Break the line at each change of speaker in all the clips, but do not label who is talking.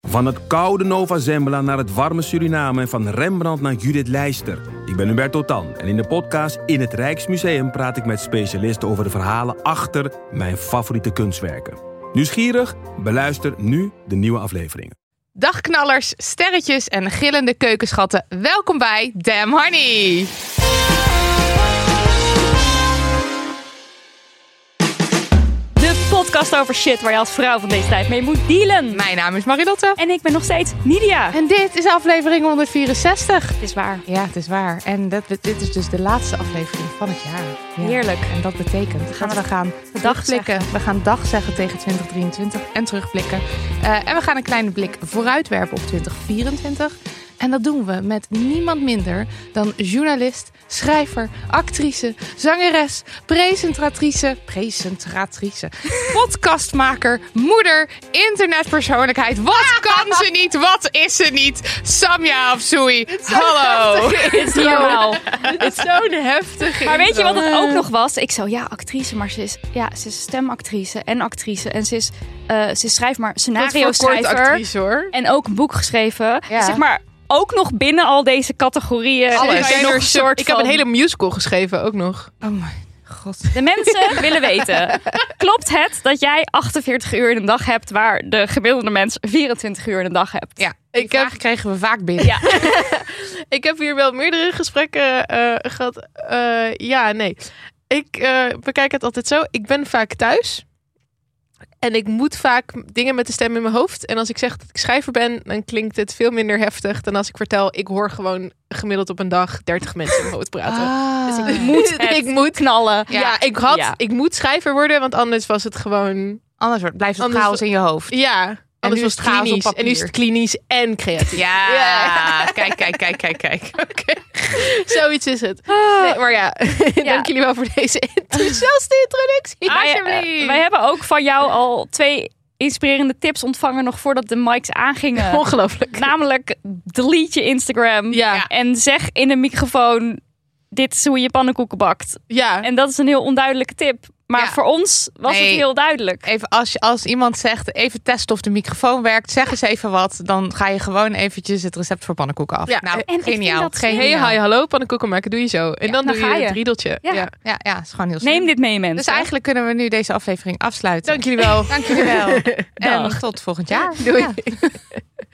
Van het koude Nova Zembla naar het warme Suriname en van Rembrandt naar Judith Leister. Ik ben Hubert Totan en in de podcast In het Rijksmuseum praat ik met specialisten over de verhalen achter mijn favoriete kunstwerken. Nieuwsgierig? Beluister nu de nieuwe afleveringen.
Dagknallers, sterretjes en gillende keukenschatten. Welkom bij Damn Honey.
De podcast over shit waar je als vrouw van deze tijd mee moet dealen.
Mijn naam is Marilotte.
En ik ben nog steeds Nidia.
En dit is aflevering 164.
Het is waar.
Ja, het is waar. En dat, dit is dus de laatste aflevering van het jaar. Ja.
Heerlijk.
En dat betekent, gaan we dan gaan terugblikken. We gaan dag zeggen tegen 2023 en terugblikken. Eh, en we gaan een kleine blik vooruit werpen op 2024. En dat doen we met niemand minder dan journalist, schrijver, actrice, zangeres, presentatrice, presentatrice, podcastmaker, moeder, internetpersoonlijkheid. Wat kan ze niet? Wat is ze niet? Samia of Sui. Hallo.
Joel.
Het is zo'n heftige.
Maar weet je wat
intro.
het ook nog was? Ik zo, ja, actrice, maar ze is, ja, ze is stemactrice en actrice. En ze is, eh, ze schrijft maar
Dat is
scenario
voor kort
schrijver.
actrice hoor.
En ook een boek geschreven. Dus
Ja.
Zeg maar, ook nog binnen al deze categorieën.
Alles.
is er
Ik
nog een soort
ik heb een
van-
hele musical geschreven ook nog.
Oh mijn god.
De mensen willen weten. Klopt het dat jij 48 uur in een dag hebt... waar de gemiddelde mens 24 uur in een dag hebt?
Ja,
Ik
ik vraag
heb-
kregen we vaak binnen.
Ja.
Ik heb hier wel meerdere gesprekken eh, gehad. Eh, ja, nee. Ik eh, bekijk het altijd zo. Ik ben vaak thuis. En ik moet vaak dingen met de stem in mijn hoofd. En als ik zeg dat ik schrijver ben, dan klinkt het veel minder heftig dan als ik vertel. Ik hoor gewoon gemiddeld op een dag 30 mensen in mijn hoofd praten.
Ah.
Dus ik moet het
Ik moet-
knallen.
Ja, ik had,
Ja.
ik moet schrijver worden, want anders was het gewoon.
Anders wordt, blijft het
Anders-
chaos in je hoofd.
Ja, anders
nu
was
is
het
het chaos op
klinisch. En nu is
papier.
het klinisch en creatief.
Ja.
Ja.
Kijk, kijk, kijk, kijk, kijk.
Zoiets is het. Nee, maar ja, dank jullie wel voor deze enthousiaste introductie.
Wij, eh, wij hebben ook van jou al twee inspirerende tips ontvangen... nog voordat de mics
Oh,
aangingen.
Ongelooflijk.
Namelijk, delete je Instagram.
Ja.
En zeg in een microfoon... dit is hoe je pannenkoeken bakt.
Ja,
En dat is een heel onduidelijke tip. Maar
Ja.
voor ons was
Nee.
het heel duidelijk.
Even als, je- als iemand zegt, even testen of de microfoon werkt, zeg eens even wat. Dan ga je gewoon eventjes het recept voor pannenkoeken af.
Ja.
Nou,
En ik vind
geniaal.
dat
geniaal.
hey, hi, hallo, pannenkoeken maken doe je zo. En dan,
dan
doe
ga
je,
je.
het riedeltje.
Ja.
Ja, ja, het is gewoon heel slim.
Neem dit mee, mensen.
Dus eigenlijk kunnen we nu deze aflevering afsluiten.
Dank jullie wel.
Dank jullie wel. en
Dag.
tot volgend jaar.
Doei.
Ja.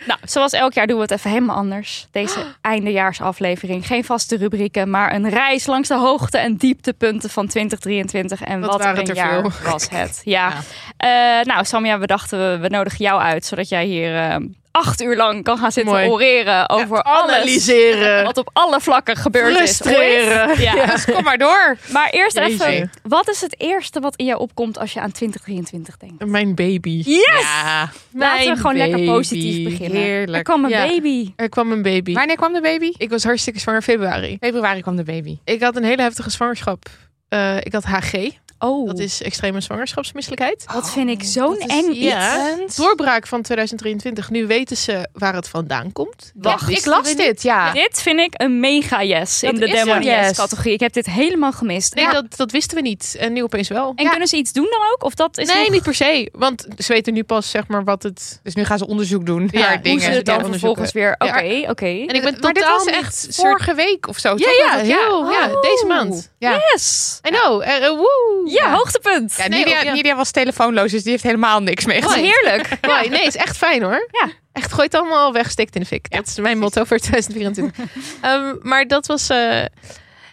Nou, zoals elk jaar doen we het even helemaal anders. Deze eindejaarsaflevering. Geen vaste rubrieken, maar een reis langs de hoogte en dieptepunten van 2023. En
Wat
wat,
waren
een
het er
jaar
veel.
was het. Ja. Eh, nou, Samia, we dachten we, we nodigen jou uit, zodat jij hier eh, acht uur lang kan gaan zitten
Mooi.
oreren over alles.
Analyseren.
Wat op alle vlakken gebeurd is.
Frustreren.
ooit. Ja.
Dus kom maar door.
Maar eerst
Jeetje.
even, wat is het eerste wat in jou opkomt als je aan 2023 denkt?
Mijn baby.
Yes!
Ja.
Laten we
Mijn
gewoon lekker
baby.
positief beginnen.
Heerlijk.
Er kwam een
Ja.
baby.
Er kwam een baby.
Wanneer kwam de baby?
Ik was hartstikke zwanger in februari.
Februari kwam de baby.
Ik had een hele heftige zwangerschap. Eh, ik had HG.
Oh,
Dat is extreme zwangerschapsmisselijkheid.
Oh,
dat vind ik zo'n
dat is-
eng iets.
Ja. Doorbraak van 2023. Nu weten ze waar het vandaan komt.
Wacht,
Ik las dit, ja.
Dit vind ik een mega yes in
Dat
de
is
Demon
een yes.
Yes categorie. Ik heb dit helemaal gemist.
Nee,
Maar-
dat, dat wisten we niet. En nu opeens wel.
en kunnen ze iets doen dan ook? Of dat is
nee,
nog-
niet per se. Want ze weten nu pas, zeg maar, wat het...
Dus nu gaan ze onderzoek doen
Ja,
naar
hoe
hoe
dingen.
ze het
Ja,
dan
onderzoeken.
vervolgens weer... Oké,
Ja.
oké.
En ik ben
maar dit
totaal
was
niet
echt
soort-
vorige week of zo.
Ja,
toch?
ja,
Dat-
heel, ja, deze
Oh.
maand.
Ja.
Yes!
I know. Eh, eh, woe.
Ja, hoogtepunt.
Ja,
Nee,
Nidia,
ook, ja.
Nidia was telefoonloos, dus die heeft helemaal niks
dat is
meegemaakt.
Oh, heerlijk.
Mooi. Nee, is echt fijn hoor.
Ja.
Echt, gooi het allemaal weg, steek het in de fik. dat is mijn motto voor 2024. Ehm, maar dat was... eh, eh,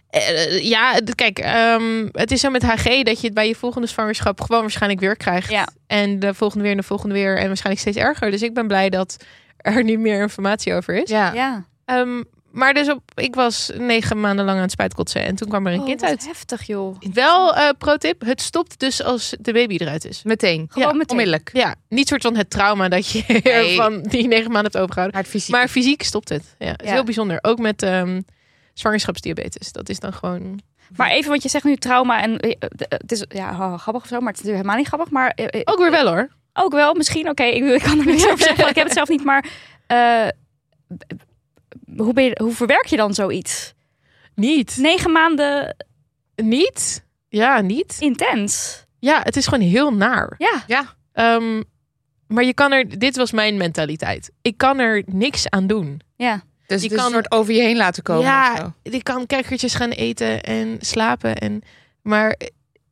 eh, ja, d- kijk, ehm, het is zo met HG dat je het bij je volgende zwangerschap gewoon waarschijnlijk weer krijgt.
Ja.
En de volgende weer en de volgende weer en waarschijnlijk steeds erger. Dus ik ben blij dat er nu meer informatie over is.
Ja.
Ja.
Ehm, maar dus op, ik was negen maanden lang aan het spuitkotsen en toen kwam er een
Oh,
kind
wat
uit.
heftig, joh.
Wel, eh, pro tip, het stopt dus als de baby eruit is.
Meteen.
Gewoon
Ja,
meteen.
Onmiddellijk.
Ja, niet soort van het trauma dat je
Nee.
van die negen maanden hebt overgehouden.
Maar het fysiek.
Maar fysiek stopt het. Ja, het is
Ja.
heel bijzonder. Ook met ehm, zwangerschapsdiabetes. Dat is dan gewoon...
Maar even, want je zegt nu trauma en eh, eh, het is ja, oh, grappig of zo, maar het is natuurlijk helemaal niet grappig. Maar eh, eh,
Ook weer wel hoor.
ook wel, misschien, oké, ik, ik kan er niks over zeggen, want ik heb het zelf niet. Maar eh, b- b- hoe, ben je, hoe verwerk je dan zoiets?
Niet.
Negen maanden
Niet? Ja, niet.
intens.
Ja, het is gewoon heel naar.
Ja,
Ehm, maar je kan er... Dit was mijn mentaliteit. Ik kan er niks aan doen.
ja.
Dus
je
het is
kan-
een soort over je heen laten komen. of zo.
ja, ik kan kijkertjes gaan eten en slapen. En, maar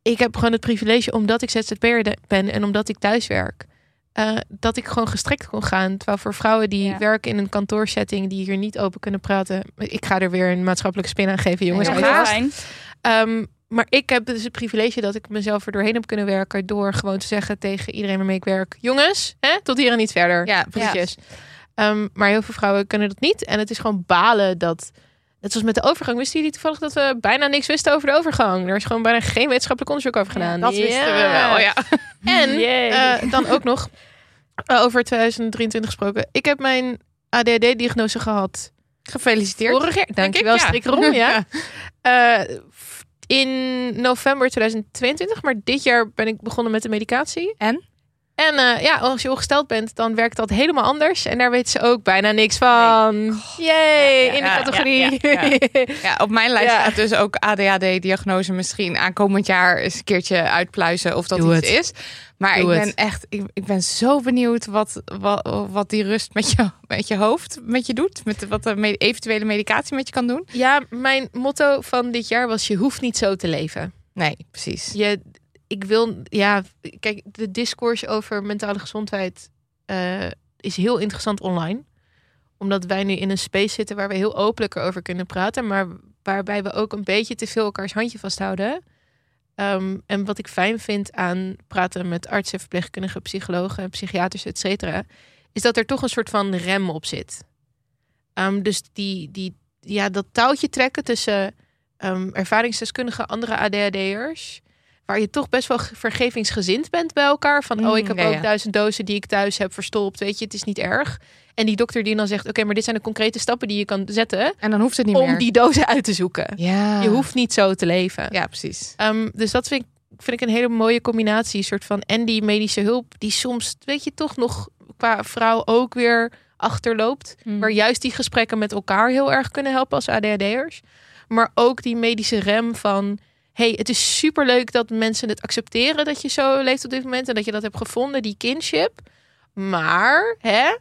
ik heb gewoon het privilege, omdat ik ZZP'er de- ben en omdat ik thuis werk... eh, dat ik gewoon gestrekt kon gaan. Terwijl voor vrouwen die
Ja.
werken in een kantoorsetting... die hier niet open kunnen praten... Ik ga er weer een maatschappelijke spin aan geven, jongens.
Ja,
Hou
heel
je
gaaf.
vast.
fijn.
Ehm, maar ik heb dus het privilege dat ik mezelf er doorheen heb kunnen werken... door gewoon te zeggen tegen iedereen waarmee ik werk... jongens, hè, tot hier en niet verder.
Ja,
Precies. Ehm, maar heel veel vrouwen kunnen dat niet. En het is gewoon balen dat... Net zoals met de overgang. Wisten jullie toevallig dat we bijna niks wisten over de overgang? Er is gewoon bijna geen wetenschappelijk onderzoek over gedaan.
Dat wisten we wel, ja.
En
Jee.
eh, dan ook nog eh, over 2023 gesproken. Ik heb mijn ADHD-diagnose gehad
Gefeliciteerd.
Vorig jaar, dankjewel,
ik, ja.
strikrom, ja. Eh, f- in november 2022, maar dit jaar ben ik begonnen met de medicatie.
En?
En eh, ja, als je ongesteld bent, dan werkt dat helemaal anders. En daar weet ze ook bijna niks van. Yay, in
Oh.
de
ja,
categorie.
ja, Ja, op mijn lijst
Ja.
staat dus ook ADHD-diagnose misschien aankomend jaar eens een keertje uitpluizen of dat
Doe
iets
het.
is. Maar
Doe
ik
het.
ben echt, ik, ik ben zo benieuwd wat, wat, wat die rust met je, met je hoofd met je doet. Met wat de me- eventuele medicatie met je kan doen.
Ja, mijn motto van dit jaar was: je hoeft niet zo te leven.
Nee, precies.
je, ik wil, ja, kijk, de discours over mentale gezondheid eh, is heel interessant online. Omdat wij nu in een space zitten waar we heel openlijk over kunnen praten, maar waarbij we ook een beetje te veel elkaars handje vasthouden. Ehm, en wat ik fijn vind aan praten met artsen, verpleegkundigen, psychologen, psychiaters, et cetera, is dat er toch een soort van rem op zit. Ehm, dus die, die, ja, dat touwtje trekken tussen ehm, ervaringsdeskundigen, andere ADHD'ers, waar je toch best wel ge- vergevingsgezind bent bij elkaar. Van,
Mm,
oh, ik heb
ja,
ook
ja.
duizend dozen die ik thuis heb verstopt, weet je, het is niet erg. En die dokter die dan zegt, oké, maar dit zijn de concrete stappen die je kan zetten
En dan hoeft het niet
om
meer.
die dozen uit te zoeken.
Ja.
Je hoeft niet zo te leven.
Ja, precies.
Ehm, dus dat vind ik, vind ik een hele mooie combinatie. Een soort van en die medische hulp, die soms, weet je, toch nog qua vrouw ook weer achterloopt.
Hmm.
Waar juist die gesprekken met elkaar heel erg kunnen helpen als ADHD'ers. Maar ook die medische rem van. hey, het is superleuk dat mensen het accepteren dat je zo leeft op dit moment. En dat je dat hebt gevonden, die kinship. Maar, hè,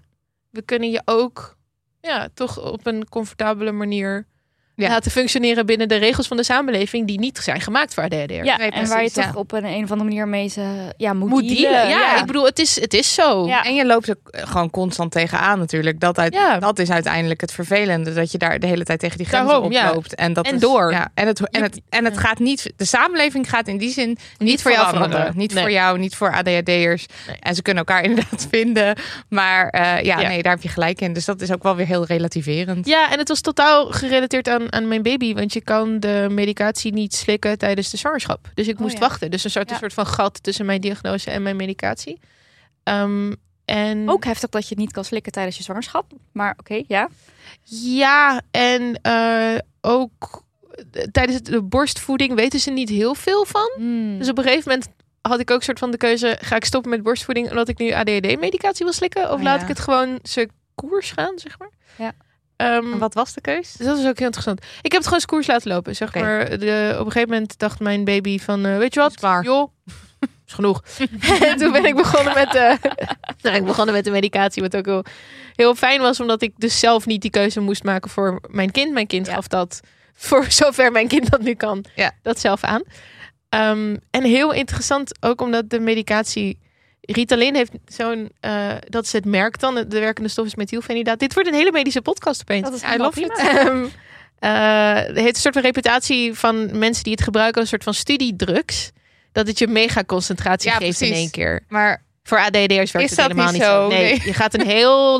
we kunnen je ook ja, toch op een comfortabele manier
Ja.
laten functioneren binnen de regels van de samenleving die niet zijn gemaakt voor ADHD'ers.
Ja,
Nee,
en waar je
precies, ja.
toch op een, een of andere manier mee ze, ja, moet,
Moet dealen.
dealen.
Ja, ik bedoel, het is, het is zo.
Ja.
En je loopt er gewoon constant tegenaan natuurlijk. Dat, uit,
Ja.
dat is uiteindelijk het vervelende. Dat je daar de hele tijd tegen die grenzen
Daarom, ja.
oploopt. En, dat
En
is-
door.
Ja, en, het, en, het, en het gaat niet... De samenleving gaat in die zin niet,
voor jou veranderen.
Niet
Nee.
voor jou, niet voor ADHD'ers.
Nee.
En ze kunnen elkaar inderdaad vinden. Maar eh, ja,
Ja.
nee, daar heb je gelijk in. Dus dat is ook wel weer heel relativerend.
Ja, en het was totaal gerelateerd aan, aan mijn baby. Want je kan de medicatie niet slikken tijdens de zwangerschap. Dus ik
Oh,
moest
ja.
wachten. Dus er zat
Ja.
een soort van gat tussen mijn diagnose en mijn medicatie. Ehm, en
Ook heftig dat je het niet kan slikken tijdens je zwangerschap. Maar oké, ja.
Ja, en eh, ook eh, tijdens de borstvoeding weten ze niet heel veel van.
Mm.
Dus op een gegeven moment had ik ook soort van de keuze: ga ik stoppen met borstvoeding omdat ik nu ADHD-medicatie wil slikken? Of
Oh,
laat
ja.
ik het gewoon zijn koers gaan, zeg maar?
Ja.
Ehm,
En wat was de keus?
dus dat is ook heel interessant. Ik heb het gewoon eens koers laten lopen. Zeg
Oké.
maar, de, op een gegeven moment dacht mijn baby van, eh, weet je wat?
Is klaar.
Joh, is genoeg. en toen ben ik begonnen met, eh nou, ik begonnen met de medicatie. Wat ook heel, heel fijn was, omdat ik dus zelf niet die keuze moest maken voor mijn kind. Mijn kind
Ja.
gaf dat, voor zover mijn kind dat nu kan,
Ja.
dat zelf aan. Ehm, en heel interessant ook omdat de medicatie... Ritalin heeft zo'n, eh, dat is het merk dan, de werkende stof is methylfenidaat. Dit wordt een hele medische podcast opeens.
Dat is
I love
helemaal
it.
Ehm, eh, het heeft een soort van reputatie van mensen die het gebruiken als een soort van studiedrugs. Dat het je mega concentratie
Ja,
geeft in
precies.
één keer.
Maar
Voor ADD'ers werkt
Is dat
het helemaal
niet
niet zo.
zo?
Nee.
Nee.
je gaat een heel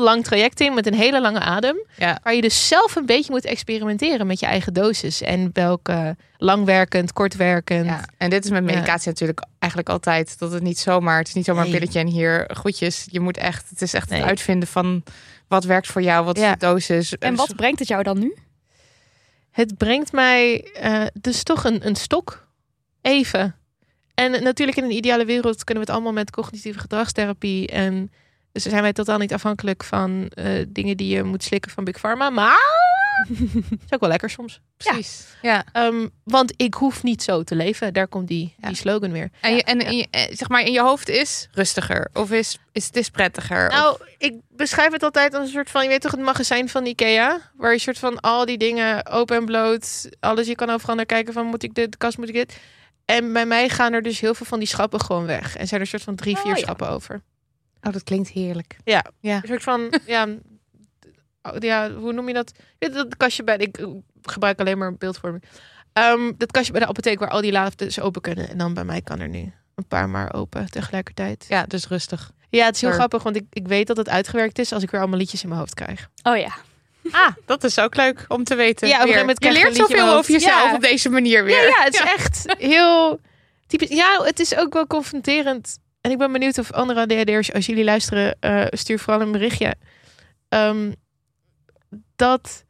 lang traject in met een hele lange adem.
Ja.
Waar je dus zelf een beetje moet experimenteren met je eigen dosis. En welke langwerkend, kortwerkend.
Ja, en dit is met medicatie natuurlijk eigenlijk altijd dat het niet zomaar, het is niet zomaar een
Nee.
pilletje en hier goedjes. Je moet echt, het is echt
Nee.
het uitvinden van wat werkt voor jou, wat is
Ja.
de dosis.
En wat brengt het jou dan nu?
Het brengt mij eh, dus toch een, een stok. Even. En natuurlijk in een ideale wereld kunnen we het allemaal met cognitieve gedragstherapie. En dus zijn wij totaal niet afhankelijk van eh, dingen die je moet slikken van Big Pharma. Maar is ook wel lekker soms.
Precies. Ja.
Ehm, want ik hoef niet zo te leven. Daar komt die,
Ja.
die slogan weer.
En, je, en, en je- eh, zeg maar in je hoofd is rustiger of is, is het is prettiger.
Nou, ik beschrijf het altijd als een soort van, je weet toch, het magazijn van Ikea. Waar je soort van al die dingen open en bloot, alles je kan overal naar kijken van moet ik dit, de kast moet ik dit. En bij mij gaan er dus heel veel van die schappen gewoon weg. En zijn er soort van drie, vier
ja.
schappen over.
of- oh, dat klinkt heerlijk.
Een soort van, ja, oh, ja, hoe noem je dat? Je weet Dat kastje bij, ik eh, gebruik alleen maar beeldvorming. Ehm, dat kastje bij de apotheek waar al die laftes open kunnen. En dan bij mij kan er nu een paar maar open tegelijkertijd.
Ja, dus rustig.
Ja, het is heel
Sure.
grappig, want ik, ik weet dat het uitgewerkt is als ik weer allemaal liedjes in mijn hoofd krijg.
Oh ja.
Ah, dat is ook leuk om te weten.
Ja, op een gegeven moment
Weer. je
krijg je
leert
een liedje in
zoveel
je
over
hoofd.
jezelf
Ja.
op deze manier weer.
Ja, ja het is echt heel typisch. Ja, het is ook wel confronterend. En ik ben benieuwd of andere ADHD'ers, als jullie luisteren, eh, stuur vooral een berichtje. Ehm, dat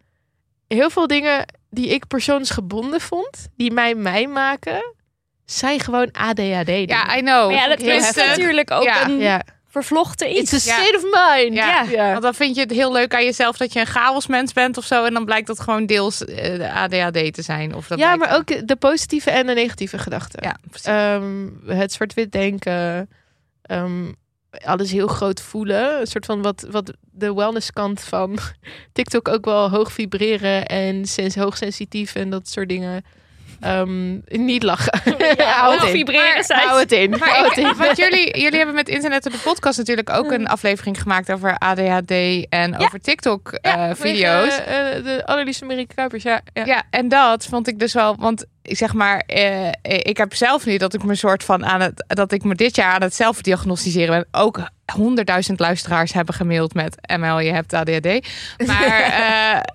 heel veel dingen die ik persoonsgebonden vond, die mij mij maken, zijn gewoon ADHD. -dingen.
Ja, I know.
Maar ja, dat
Oh, Heel
is
heftig.
natuurlijk ook
Ja.
een
ja.
vervlochten iets.
It's a state of mind.
Ja.
ja.
Want dan vind je het heel leuk aan jezelf dat je een chaosmens bent of zo. En dan blijkt dat gewoon deels eh, de ADHD te zijn. Of dat
Ja,
blijkt-
maar ook de positieve en de negatieve gedachten.
Ja, precies.
Ehm, het zwart-wit denken. ehm, alles heel groot voelen. Een soort van wat, wat de wellnesskant van TikTok ook wel hoog vibreren en sens, hoogsensitief en dat soort dingen. Ehm, niet lachen. Hou het
hoog
in.
vibreren zijn.
Hou het in. Hou
Maar
het in.
ik, want jullie, jullie hebben met Internet op de podcast natuurlijk ook
Mm.
een aflevering gemaakt over ADHD en over Eh,
Ja,
TikTok-video's.
vanwege, eh, de allerliefste Marieke Kuipers. Ja, ja.
Ja, en dat vond ik dus wel. Want ik zeg maar, eh, ik heb zelf nu dat ik me soort van aan het. dat ik me dit jaar aan het zelf diagnosticeren ben. Ook honderdduizend luisteraars hebben gemaild met ML, je hebt ADHD. Maar.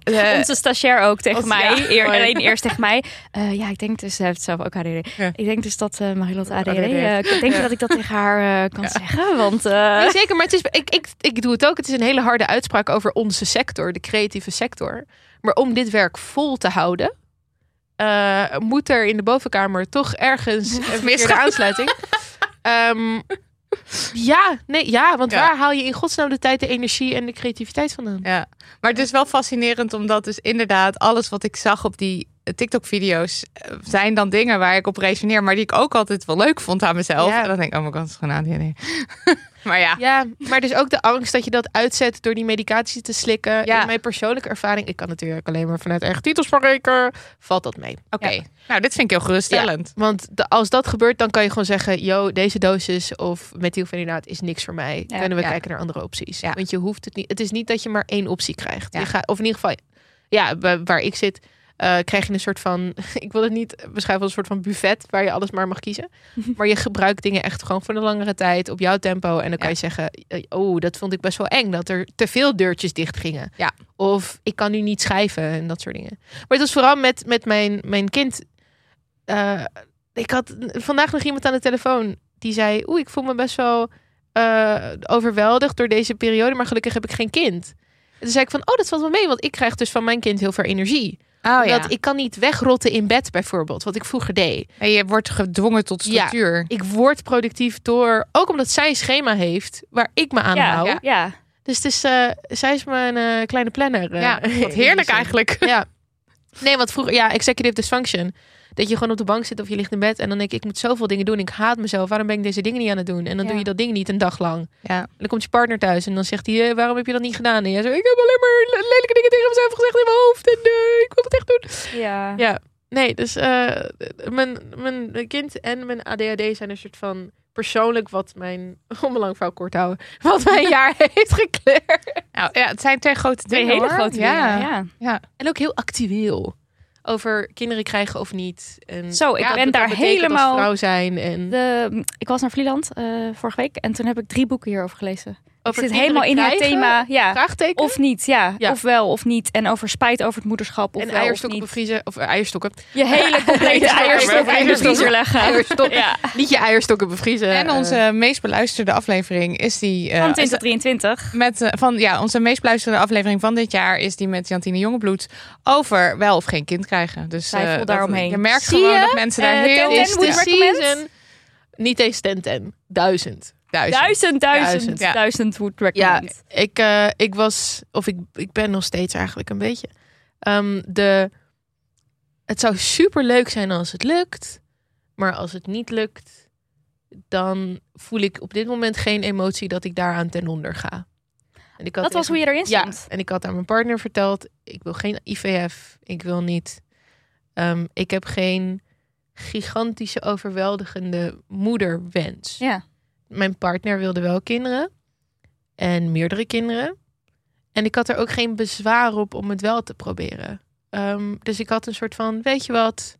eh, eh,
Onze stagiair ook tegen
Onze-
mij.
ja,
Eer,
mooi.
alleen eerst tegen mij. Eh, ja, ik denk dus, ze heeft zelf ook ADD.
Ja.
Ik denk dus dat eh Marilotte ADD,
ADD.
eh, ik denk dat ik dat tegen haar eh, kan zeggen. Want eh,
Nee, zeker, maar het is, ik, ik, ik doe het ook. Het is een hele harde uitspraak over onze sector, de creatieve sector. Maar om dit werk vol te houden, eh, moet er in de bovenkamer toch ergens een verkeerde
misgaan.
aansluiting. Ehm, ja, nee, ja, want
Ja.
waar haal je in godsnaam de tijd, de energie en de creativiteit vandaan?
Ja, maar het is wel fascinerend omdat dus inderdaad alles wat ik zag op die eh, TikTok-video's eh, zijn dan dingen waar ik op resoneer, maar die ik ook altijd wel leuk vond aan mezelf.
Ja.
En dan denk ik, oh mijn god, het is gewoon ADHD. maar ja,
Ja, maar dus ook de angst dat je dat uitzet door die medicatie te slikken.
Ja.
In mijn persoonlijke ervaring, ik kan natuurlijk alleen maar vanuit eigen titel spreken, valt dat mee.
oké. Nou, dit vind ik heel geruststellend.
Want de- als dat gebeurt, dan kan je gewoon zeggen: yo, deze dosis of methylfenidaat is niks voor mij.
Ja,
Kunnen we
ja.
kijken naar andere opties?
Ja.
Want je hoeft het niet. Het is niet dat je maar één optie krijgt.
Ja.
Je gaat, of in ieder geval, ja, wa- waar ik zit, eh, krijg je een soort van. Ik wil het niet beschrijven als een soort van buffet waar je alles maar mag kiezen. Maar je gebruikt dingen echt gewoon voor een langere tijd op jouw tempo. En dan kan
Ja.
je zeggen: eh, oh, dat vond ik best wel eng dat er te veel deurtjes dicht gingen.
Ja.
Of ik kan nu niet schrijven en dat soort dingen. Maar het was vooral met, met mijn, mijn kind. Eh, ik had vandaag nog iemand aan de telefoon die zei: Oeh, ik voel me best wel eh, overweldigd door deze periode, maar gelukkig heb ik geen kind. En toen zei ik van, oh, dat valt wel mee, want ik krijg dus van mijn kind heel veel energie.
Oh
Omdat ik kan niet wegrotten in bed bijvoorbeeld, wat ik vroeger deed.
En je wordt gedwongen tot
Ja.
structuur.
Ik word productief door, ook omdat zij een schema heeft waar ik me aan
ja,
hou.
ja. ja.
Dus het is, eh, zij is mijn eh, kleine planner. eh,
Ja,
in
wat
die
heerlijk
zin.
eigenlijk.
Ja. Nee, want vroeger, ja, executive dysfunction. Dat je gewoon op de bank zit of je ligt in bed en dan denk ik, ik moet zoveel dingen doen. Ik haat mezelf. Waarom ben ik deze dingen niet aan het doen? En dan
Ja.
doe je dat ding niet een dag lang.
Ja.
En dan komt je partner thuis en dan zegt hij, eh, waarom heb je dat niet gedaan? En jij zo, ik heb alleen maar le- lelijke dingen tegen mezelf gezegd in mijn hoofd. En eh, ik wil het echt doen. Ja. Nee, dus eh, mijn, mijn kind en mijn ADHD zijn een soort van persoonlijk wat mijn, om een lang verhaal kort te houden, wat mijn jaar heeft gekleurd.
Nou, ja, het zijn twee grote
Twee
dingen
hele
hoor.
grote
ja.
dingen. Ja.
En ook heel actueel. over kinderen krijgen of niet. En
Zo, ik
ja,
ben
wat dat
daar
betekent als
helemaal
vrouw zijn en
De, ik was naar Vlieland eh, vorige week en toen heb ik drie boeken hierover gelezen. Ik
over
zit
kinderen
helemaal in het
krijgen,
thema. Ja.
Vraagteken.
Of niet, ja.
Ja.
Of wel, of niet. En over spijt over het moederschap. Of
en
wel, of
eierstokken
niet.
bevriezen. Of eh, eierstokken.
Je hele complete
Eierstokken,
eierstokken in de
eierstokken,
vriezer leggen.
eierstokken.
Ja.
Niet je eierstokken bevriezen. Eh,
En onze meest beluisterde aflevering is die... eh,
Van 2023.
met, eh, van, ja, onze meest beluisterde aflevering van dit jaar is die met Jantine Jongebloed over wel of geen kind krijgen. Dus
Twijfel
eh, dat-
daaromheen.
Je merkt
Zie
gewoon
je?
dat mensen daar
Eh,
heel
ten-
is
ten- would
de
sterk-
recommend?
season. Niet eens 10 10. Duizend.
duizend.
Duizend, duizend,
Duizend,
ja.
duizend would recommend.
Ik, eh, ik was, of ik, ik ben nog steeds eigenlijk een beetje. ehm, de, het zou super leuk zijn als het lukt. Maar als het niet lukt, dan voel ik op dit moment geen emotie dat ik daaraan ten onder ga. En ik had
Dat was
tegen-
hoe je erin
ja,
stond.
en ik had aan mijn partner verteld: ik wil geen IVF, ik wil niet. ehm, ik heb geen gigantische, overweldigende moederwens.
Ja.
Mijn partner wilde wel kinderen en meerdere kinderen. En ik had er ook geen bezwaar op om het wel te proberen. Ehm, dus ik had een soort van: weet je wat?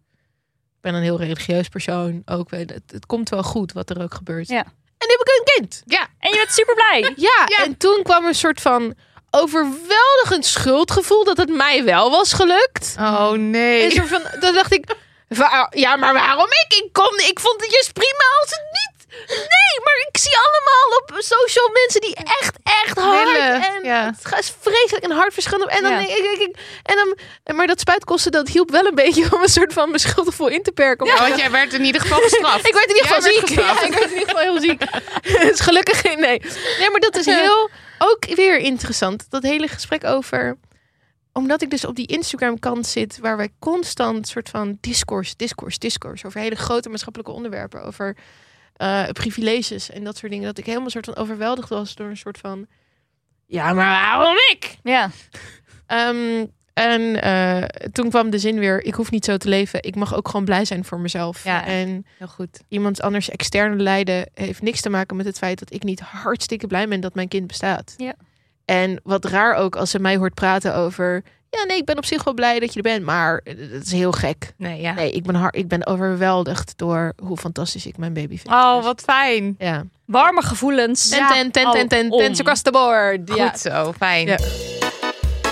Ik ben een heel religieus persoon. Ook, eh, het, het komt wel goed wat er ook gebeurt.
Ja.
En nu heb ik een kind.
Ja,
En je bent super blij.
Ja, en toen kwam een soort van overweldigend schuldgevoel dat het mij wel was gelukt.
Oh
En
nee.
zo van, dan dacht ik, "Wa- ja, maar waarom ik? Ik, kon, ik vond het juist prima als het niet. Nee, maar ik zie allemaal op social mensen die echt, echt hard
Willen,
en
ja.
het is vreselijk en hard verschillend. En dan,
Ja.
ik, ik, ik- en dan, en maar dat spuitkosten, dat hielp wel een beetje om een soort van mijn schuldgevoel in te perken.
Ja,
Omdat
want jij werd in ieder geval gestraft.
ik werd in ieder geval
Jij werd
ziek.
gestraft.
Ja, ik werd in ieder geval heel ziek. dus gelukkig geen nee. Nee, maar dat
Eh.
is heel ook weer interessant. Dat hele gesprek over omdat ik dus op die Instagram kant zit waar wij constant soort van discourse, discourse, discourse over hele grote maatschappelijke onderwerpen, over eh, privileges en dat soort dingen. Dat ik helemaal soort van overweldigd was door een soort van ja, maar waarom ik?
Ja.
Ehm, en eh, toen kwam de zin weer: ik hoef niet zo te leven. Ik mag ook gewoon blij zijn voor mezelf.
Ja.
En
Heel goed.
iemand anders externe lijden heeft niks te maken met het feit dat ik niet hartstikke blij ben dat mijn kind bestaat.
Ja.
En wat raar ook als ze mij hoort praten over. Ja, nee, ik ben op zich wel blij dat je er bent, maar eh, dat is heel gek.
Nee, ja.
Nee, ik ben, har- ik ben overweldigd door hoe fantastisch ik mijn baby vind.
Oh, wat fijn.
Ja.
Warme gevoelens. oh,
Ten, ten, ten, ten, ten,
alom.
ten, across the board. Ja.
Goed zo, fijn.
Ja.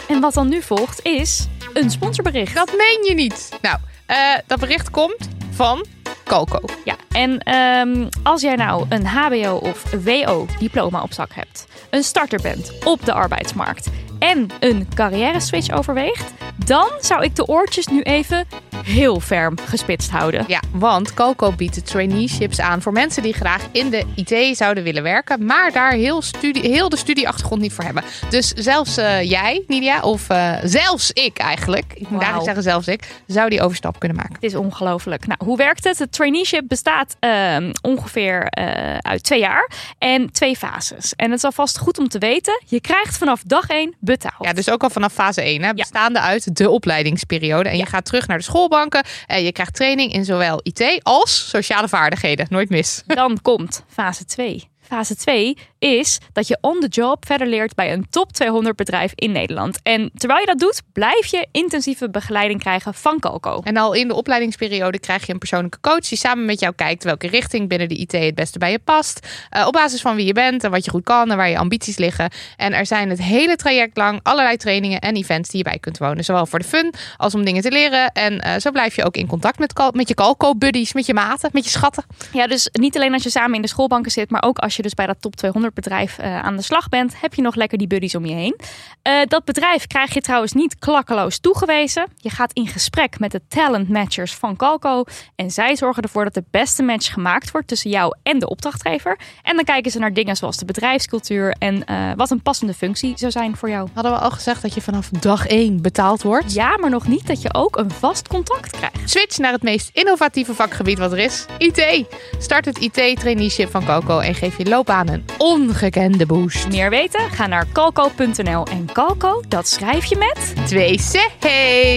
En wat dan nu volgt is een sponsorbericht.
Dat meen je niet. Nou, eh, dat bericht komt van Coco.
Ja, en ehm, als jij nou een HBO of WO-diploma op zak hebt, een starter bent op de arbeidsmarkt en een carrière-switch overweegt, dan zou ik de oortjes nu even heel ferm gespitst houden.
Ja, want Coco biedt de traineeships aan voor mensen die graag in de IT zouden willen werken, maar daar heel, studie, heel de studieachtergrond niet voor hebben. Dus zelfs eh, jij, Nidia, of eh, zelfs ik eigenlijk, ik moet
Wauw.
eigenlijk zeggen zelfs ik, zou die overstap kunnen maken.
Het is ongelooflijk. Nou, hoe werkt het? Het traineeship bestaat ehm, ongeveer eh, uit twee jaar en twee fases. En het is alvast goed om te weten, je krijgt vanaf dag één betaald.
Ja, dus ook al vanaf fase 1, hè, bestaande uit de opleidingsperiode. En je gaat terug naar de schoolbanken en je krijgt training in zowel IT als sociale vaardigheden. Nooit mis.
Dan komt fase 2. Fase 2 is dat je on the job verder leert bij een top 200 bedrijf in Nederland. En terwijl je dat doet, blijf je intensieve begeleiding krijgen van Calco.
En al in de opleidingsperiode krijg je een persoonlijke coach die samen met jou kijkt welke richting binnen de IT het beste bij je past. Eh, op basis van wie je bent en wat je goed kan en waar je ambities liggen. En er zijn het hele traject lang allerlei trainingen en events die je bij kunt wonen. Zowel voor de fun als om dingen te leren. En eh, zo blijf je ook in contact met, cal- met je calco-buddies, met je maten, met je schatten.
Ja, dus niet alleen als je samen in de schoolbanken zit, maar ook als je dus bij dat top 200 bedrijf eh, aan de slag bent, heb je nog lekker die buddies om je heen. Eh, dat bedrijf krijg je trouwens niet klakkeloos toegewezen. Je gaat in gesprek met de talent matchers van Calco en zij zorgen ervoor dat de beste match gemaakt wordt tussen jou en de opdrachtgever. En dan kijken ze naar dingen zoals de bedrijfscultuur en eh, wat een passende functie zou zijn voor jou.
Hadden we al gezegd dat je vanaf dag 1 betaald wordt?
Ja, maar nog niet dat je ook een vast contact krijgt.
Switch naar het meest innovatieve vakgebied wat er is, IT. Start het IT-traineeship van Coco en geef je loopbaan een ongekende boost.
Meer weten? Ga naar calco.nl en Calco, dat schrijf je met...
Twee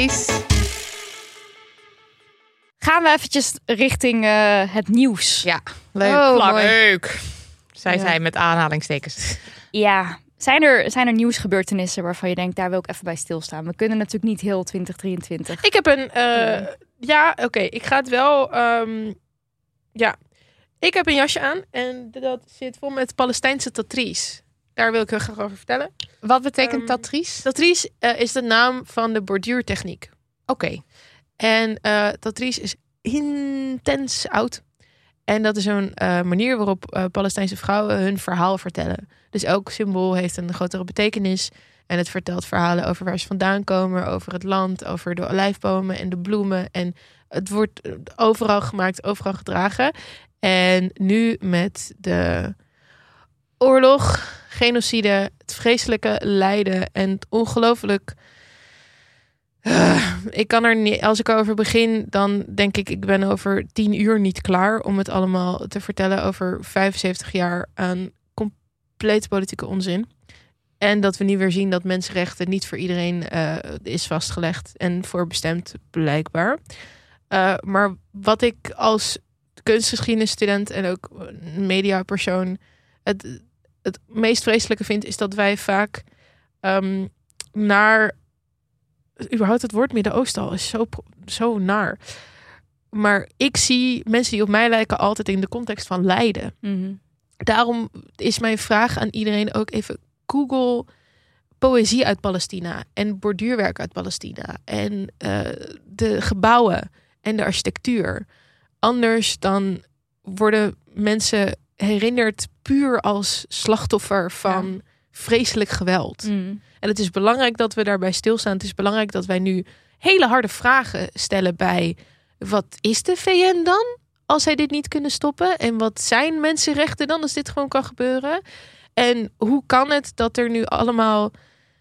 C's.
Gaan we eventjes richting eh, het nieuws.
Ja, leuk.
Oh, mooi.
leuk. Zij
Ja.
zei met aanhalingstekens.
Ja, Zijn er, zijn er nieuwsgebeurtenissen waarvan je denkt, daar wil ik even bij stilstaan? We kunnen natuurlijk niet heel 2023.
Ik heb een. eh, ja, oké. Ik ga het wel. ehm, ja. Ik heb een jasje aan en dat zit vol met Palestijnse tatries. Daar wil ik heel graag over vertellen.
Wat betekent
Ehm,
tatrice?
Tatries eh, is de naam van de borduurtechniek.
Oké.
En eh tatries is intens oud. En dat is zo'n eh, manier waarop eh, Palestijnse vrouwen hun verhaal vertellen. Dus elk symbool heeft een grotere betekenis. En het vertelt verhalen over waar ze vandaan komen, over het land, over de olijfbomen en de bloemen. En het wordt eh, overal gemaakt, overal gedragen. En nu met de oorlog, genocide, het vreselijke lijden en het ongelooflijk eh, ik kan er niet, als ik erover begin, dan denk ik, ik ben over tien uur niet klaar om het allemaal te vertellen over 75 jaar aan compleet politieke onzin. En dat we nu weer zien dat mensenrechten niet voor iedereen eh, is vastgelegd en voorbestemd, blijkbaar. Eh, maar wat ik als kunstgeschiedenisstudent en ook mediapersoon het, het meest vreselijke vind, is dat wij vaak ehm, naar überhaupt het woord Midden-Oosten al is zo, pro- zo naar. Maar ik zie mensen die op mij lijken altijd in de context van lijden.
Mhm.
Daarom is mijn vraag aan iedereen ook even Google poëzie uit Palestina en borduurwerk uit Palestina en eh, de gebouwen en de architectuur. Anders dan worden mensen herinnerd puur als slachtoffer van vreselijk geweld.
Mm.
En het is belangrijk dat we daarbij stilstaan. Het is belangrijk dat wij nu hele harde vragen stellen bij wat is de VN dan als zij dit niet kunnen stoppen? En wat zijn mensenrechten dan als dit gewoon kan gebeuren? En hoe kan het dat er nu allemaal.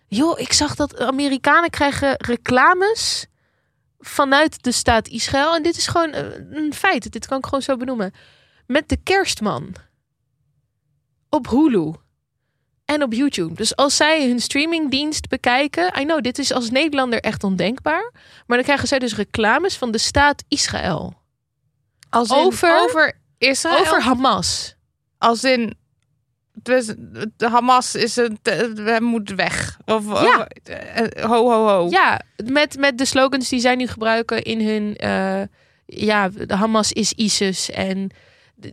Joh, ik zag dat Amerikanen krijgen reclames vanuit de staat Israël. En dit is gewoon eh, een feit. Dit kan ik gewoon zo benoemen. Met de kerstman. Op Hulu en op YouTube. Dus als zij hun streamingdienst bekijken, I know, dit is als Nederlander echt ondenkbaar, maar dan krijgen zij dus reclames van de staat Israël
Als
in-
over, over Israël?
over Hamas.
Als in... Dus de Hamas is een... te- We moeten weg. Of,
Ja.
of- eh, ho, ho, ho.
Ja, met, met de slogans die zij nu gebruiken in hun, eh, ja, de Hamas is ISIS en d-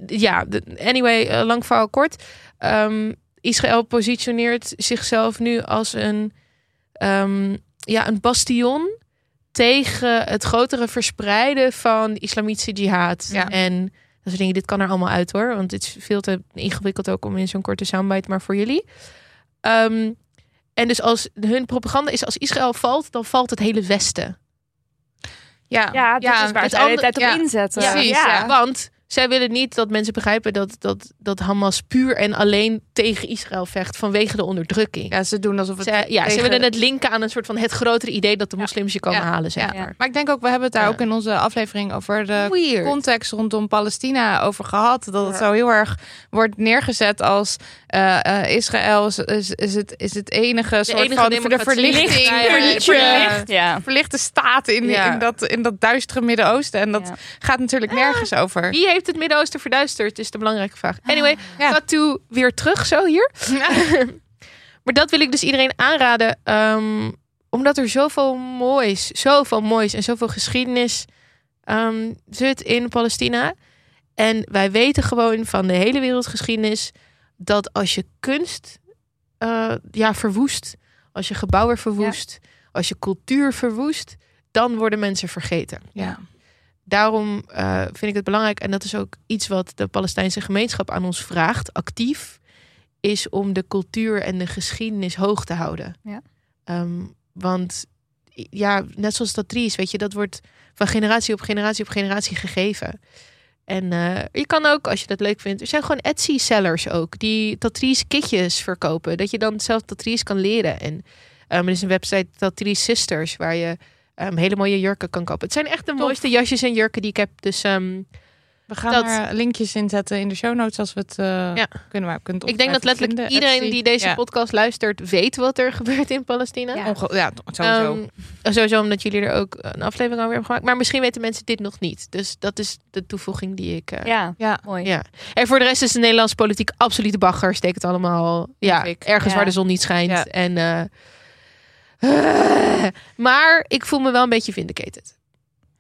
d- ja, d- anyway, eh, lang verhaal kort. Ehm, Israël positioneert zichzelf nu als een, ehm, ja, een bastion tegen het grotere verspreiden van islamitische jihad.
Ja.
En dat soort dingen, dit kan er allemaal uit hoor, want het is veel te ingewikkeld ook om in zo'n korte soundbite, maar voor jullie. Ehm, en dus als hun propaganda is als Israël valt, dan valt het hele Westen.
Ja,
Ja, dit is waar
het
ze de hele
ander-
tijd op
ja.
inzetten.
Precies, ja.
Want zij willen niet dat mensen begrijpen dat, dat, dat Hamas puur en alleen tegen Israël vecht vanwege de onderdrukking.
Ja, ze doen alsof het...
Zij- ja, ze
tegen-
willen het linken aan een soort van het grotere idee dat de moslims je komen
Ja.
halen, zeg
Ja.
maar.
Maar ik denk ook, we hebben het daar
Ja.
ook in onze aflevering over de
Weird.
context rondom Palestina over gehad. Dat het zo heel erg wordt neergezet als eh, eh, Israël is, is, is het, is het enige soort
enige
van de
democratie.
verlichting.
Ja,
van-
ja,
van-
ja.
Ja.
Verlichte staat in,
Ja.
in, dat, in dat duistere Midden-Oosten. En dat
Ja.
gaat natuurlijk nergens over.
Wie heeft het Midden-Oosten verduisterd, is de belangrijke vraag. Anyway,
Ah, Ja.
gaat toe weer terug zo hier. Maar dat wil ik dus iedereen aanraden. ehm, omdat er zoveel moois, zoveel moois en zoveel geschiedenis ehm, zit in Palestina. En wij weten gewoon van de hele wereldgeschiedenis dat als je kunst eh, ja, verwoest, als je gebouwen verwoest, als je cultuur verwoest, dan worden mensen vergeten
Ja.
daarom eh, vind ik het belangrijk, en dat is ook iets wat de Palestijnse gemeenschap aan ons vraagt, actief, is om de cultuur en de geschiedenis hoog te houden.
Ja.
Ehm, want i- ja, net zoals dat drie is, weet je, dat wordt van generatie op generatie op generatie gegeven. En eh, je kan ook, als je dat leuk vindt, er zijn gewoon Etsy-sellers ook, die Tatrice kitjes verkopen. Dat je dan zelf Tatrice kan leren. En ehm, er is een website, Tatrice Sisters, waar je ehm, hele mooie jurken kan kopen. Het zijn echt de mooiste jasjes en jurken die ik heb. Dus ehm,
We gaan
Dat-
er linkjes in zetten in de show notes als we het eh,
Ja.
kunnen. Maar we kunnen het
Ik denk dat
ongetwijfeld
letterlijk
vinden.
iedereen
FC.
die deze
ja.
podcast luistert, weet wat er gebeurt in Palestina.
Ja.
Onge- ja, sowieso.
Ehm, sowieso omdat jullie er ook een aflevering over hebben gemaakt. Maar misschien weten mensen dit nog niet. Dus dat is de toevoeging die ik... eh,
Ja,
ja.
mooi.
Ja. En voor de rest is de Nederlandse politiek absolute bagger. Steek het allemaal ja,
ik.
ergens
Ja.
waar de zon niet schijnt.
Ja.
En, eh, maar ik voel me wel een beetje vindicated.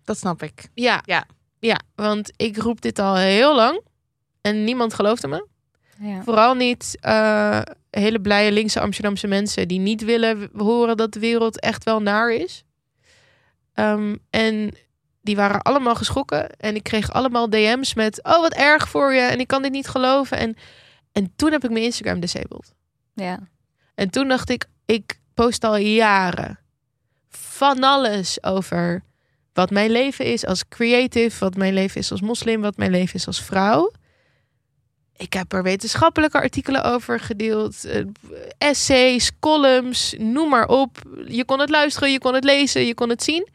dat snap ik.
Ja.
Ja.
ja, want ik roep dit al heel lang. En niemand geloofde me.
Ja.
Vooral niet eh, hele blije linkse Amsterdamse mensen die niet willen w- horen dat de wereld echt wel naar is. Ehm, en die waren allemaal geschrokken. En ik kreeg allemaal DM's met: Oh, wat erg voor je. En ik kan dit niet geloven. En, en toen heb ik mijn Instagram disabled.
Ja.
En toen dacht ik: Ik post al jaren van alles over wat mijn leven is als creative, wat mijn leven is als moslim, wat mijn leven is als vrouw. Ik heb er wetenschappelijke artikelen over gedeeld, eh, essays, columns, noem maar op. Je kon het luisteren, je kon het lezen, je kon het zien.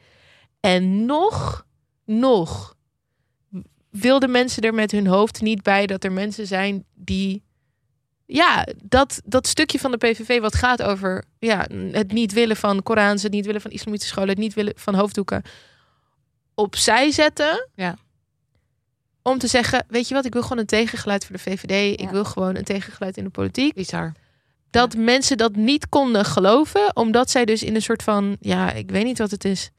En nog, nog wilden mensen er met hun hoofd niet bij dat er mensen zijn die. Ja, dat, dat stukje van de PVV wat gaat over ja, het niet willen van Korans, het niet willen van islamitische scholen, het niet willen van hoofddoeken opzij zetten.
Ja.
Om te zeggen, weet je wat, ik wil gewoon een tegengeluid voor de VVD. Ik
Ja.
wil gewoon een tegengeluid in de politiek
Bizar.
dat mensen dat niet konden geloven, omdat zij dus in een soort van, ja, ik weet niet wat het is.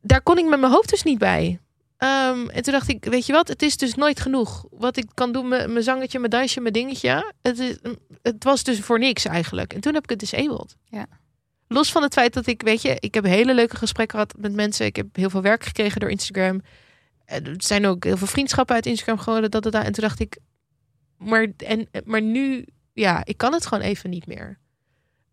Daar kon ik met mijn hoofd dus niet bij. Ehm, en toen dacht ik, weet je wat, het is dus nooit genoeg. Wat ik kan doen, mijn mijn zangetje, mijn dansje, mijn dingetje. Het, is, het was dus voor niks eigenlijk. En toen heb ik het disabled.
Ja.
Los van het feit dat ik, weet je, ik heb hele leuke gesprekken gehad met mensen. Ik heb heel veel werk gekregen door Instagram. Er zijn ook heel veel vriendschappen uit Instagram geworden. Dat, dat, dat. En toen dacht ik, maar, en, maar nu ja, ik kan het gewoon even niet meer.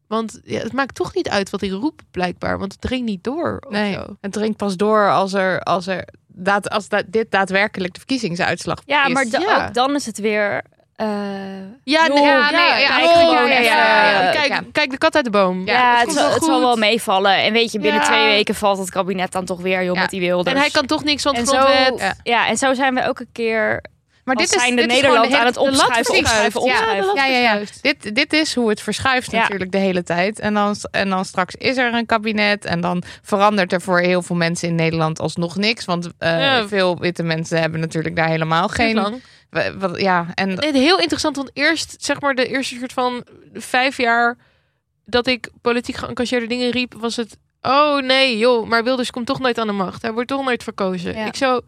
Want ja, het maakt toch niet uit wat ik roep, blijkbaar. Want het dringt niet door. Of
Nee,
zo.
het dringt pas door als er, als er daad, als da- dit daadwerkelijk de verkiezingsuitslag
Ja,
is.
maar da-
ja.
ook dan is het weer. eh,
Ja,
Joh,
nee,
ja,
ja, nee, ja,
kijk,
oh,
gewoon
ja,
even,
ja, ja, ja.
eh,
Kijk,
ja.
kijk, de kat uit de boom.
ja,
Ja,
het, zal, het zal wel meevallen. En weet je, binnen
Ja.
twee weken valt het kabinet dan toch weer, joh,
Ja.
met die Wilders.
En hij kan toch niks, want
en zo,
grondwet...
ja. en zo zijn we ook een keer
maar
als zijn de
gewoon
Nederland
hele-
aan het
de lat
opschuiven,
verschuift.
opschuiven,
Ja.
opschuiven.
Ja, ja, ja. Dit, dit is hoe het verschuift
Ja.
natuurlijk de hele tijd. En dan, en dan straks is er een kabinet. En dan verandert er voor heel veel mensen in Nederland alsnog niks. Want eh,
Ja.
veel witte mensen hebben natuurlijk daar helemaal geen...
lang.
wa- wat- ja, en
Nee, heel interessant, want eerst, zeg maar, de eerste soort van vijf jaar dat ik politiek geëngageerde dingen riep, was het, oh nee, joh, maar Wilders komt toch nooit aan de macht. Hij wordt toch nooit verkozen.
Ja.
Ik zo,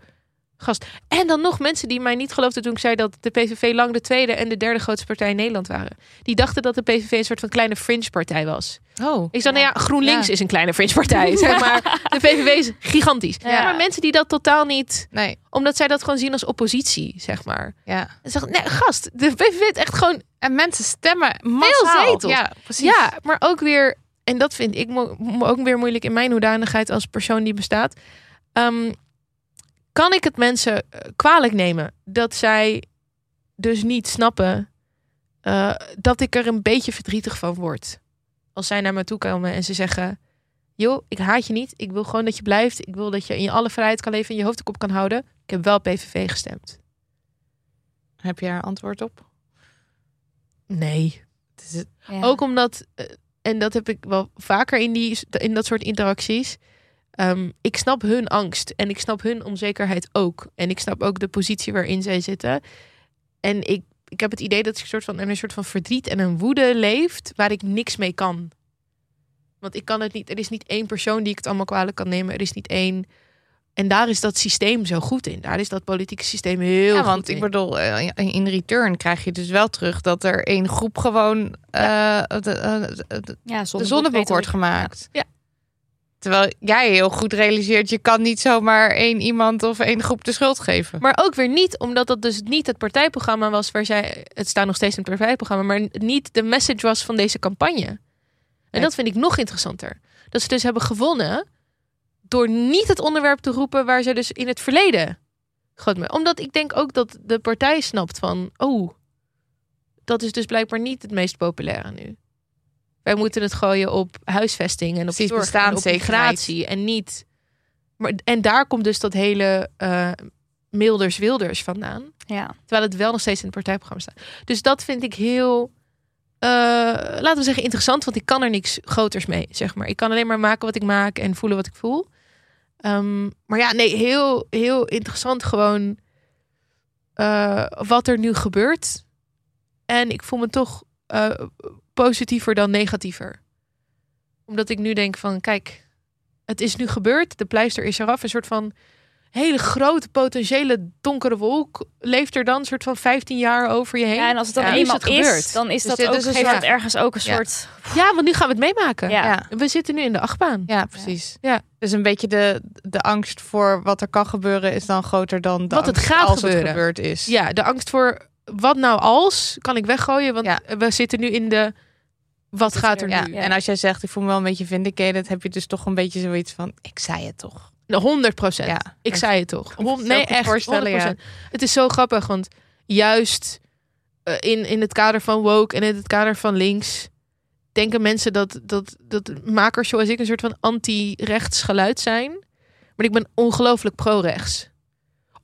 gast. En dan nog mensen die mij niet geloofden toen ik zei dat de PVV lang de tweede en de derde grootste partij in Nederland waren. Die dachten dat de PVV een soort van kleine fringe partij was.
Oh,
Ik zei, nou ja, GroenLinks
Ja.
is een kleine fringe partij, zeg maar. De PVV is gigantisch.
Ja.
Maar mensen die dat totaal niet,
nee.
omdat zij dat gewoon zien als oppositie, zeg maar.
Ja.
En zeg, nee, gast, de PVV heeft echt gewoon
En mensen stemmen massaal.
zetels.
Ja, precies.
Ja, maar ook weer, en dat vind ik mo- mo- ook weer moeilijk in mijn hoedanigheid als persoon die bestaat. Ehm, kan ik het mensen eh, kwalijk nemen dat zij dus niet snappen eh, dat ik er een beetje verdrietig van word? Als zij naar me toe komen en ze zeggen: Joh, ik haat je niet. Ik wil gewoon dat je blijft. Ik wil dat je in je alle vrijheid kan leven en je hoofd de kop kan houden. Ik heb wel PVV gestemd.
Heb je daar antwoord op?
Nee.
Het is het-
Ja.
Ook omdat, eh, en dat heb ik wel vaker in, die, in dat soort interacties. ehm, ik snap hun angst en ik snap hun onzekerheid ook. En ik snap ook de positie waarin zij zitten. En ik, ik heb het idee dat ik een soort van, in een soort van verdriet en een woede leeft waar ik niks mee kan. Want ik kan het niet. Er is niet één persoon die ik het allemaal kwalijk kan nemen. Er is niet één. En daar is dat systeem zo goed in. Daar is dat politieke systeem heel
ja,
goed
want
in.
ik bedoel, eh, in- in return krijg je dus wel terug dat er één groep gewoon eh, de, eh, de- de-
ja,
de
zonnebloed
zonnebok
weet
wordt
ook-
gemaakt.
Ja.
Terwijl jij heel goed realiseert, je kan niet zomaar één iemand of één groep de schuld geven.
Maar ook weer niet, omdat dat dus niet het partijprogramma was waar zij. Het staat nog steeds in het partijprogramma, maar niet de message was van deze campagne. En
Nee.
dat vind ik nog interessanter. Dat ze dus hebben gewonnen door niet het onderwerp te roepen waar ze dus in het verleden. Goed, mee- omdat ik denk ook dat de partij snapt van. Oh, dat is dus blijkbaar niet het meest populaire nu. Wij moeten het gooien op huisvesting en op
Precies,
zorg en op
bestaanszekerheid.
migratie en niet. Maar, en daar komt dus dat hele eh, Milders Wilders vandaan.
Ja.
Terwijl het wel nog steeds in het partijprogramma staat. Dus dat vind ik heel, eh, laten we zeggen, interessant. Want ik kan er niks groters mee, zeg maar. Ik kan alleen maar maken wat ik maak en voelen wat ik voel. Ehm, maar ja, nee, heel, heel interessant gewoon eh, wat er nu gebeurt. En ik voel me toch eh, positiever dan negatiever. Omdat ik nu denk van, kijk, het is nu gebeurd. De pleister is eraf. Een soort van hele grote potentiële donkere wolk leeft er dan een soort van 15 jaar over je heen.
Ja, en als het dan
Ja.
eenmaal
Is het
is,
gebeurd?
dan is
Dus
dat
dit
ook,
is een
geeft
soort-
dat ergens ook een
Ja.
soort...
Ja, want nu gaan we het meemaken.
Ja.
Ja.
We zitten nu in de achtbaan.
Ja, precies.
Ja.
Dus een beetje de, de angst voor wat er kan gebeuren is dan groter dan de
Wat het
angst
gaat
als
gebeuren.
het gebeurd is.
Ja, de angst voor wat nou als kan ik weggooien, want
Ja.
we zitten nu in de wat
zitten
gaat er
Ja,
nu?
en als jij zegt, ik voel me wel een beetje vindicated, heb je dus toch een beetje zoiets van, ik zei het toch.
100 procent.
Ja.
Ik zei het toch. Hond-
me
nee,
goed
echt. 100%.
voorstellen, ja.
Het is zo grappig, want juist eh, in, in het kader van woke en in het kader van links denken mensen dat, dat, dat makers zoals ik een soort van anti-rechts geluid zijn. Maar ik ben ongelooflijk pro-rechts.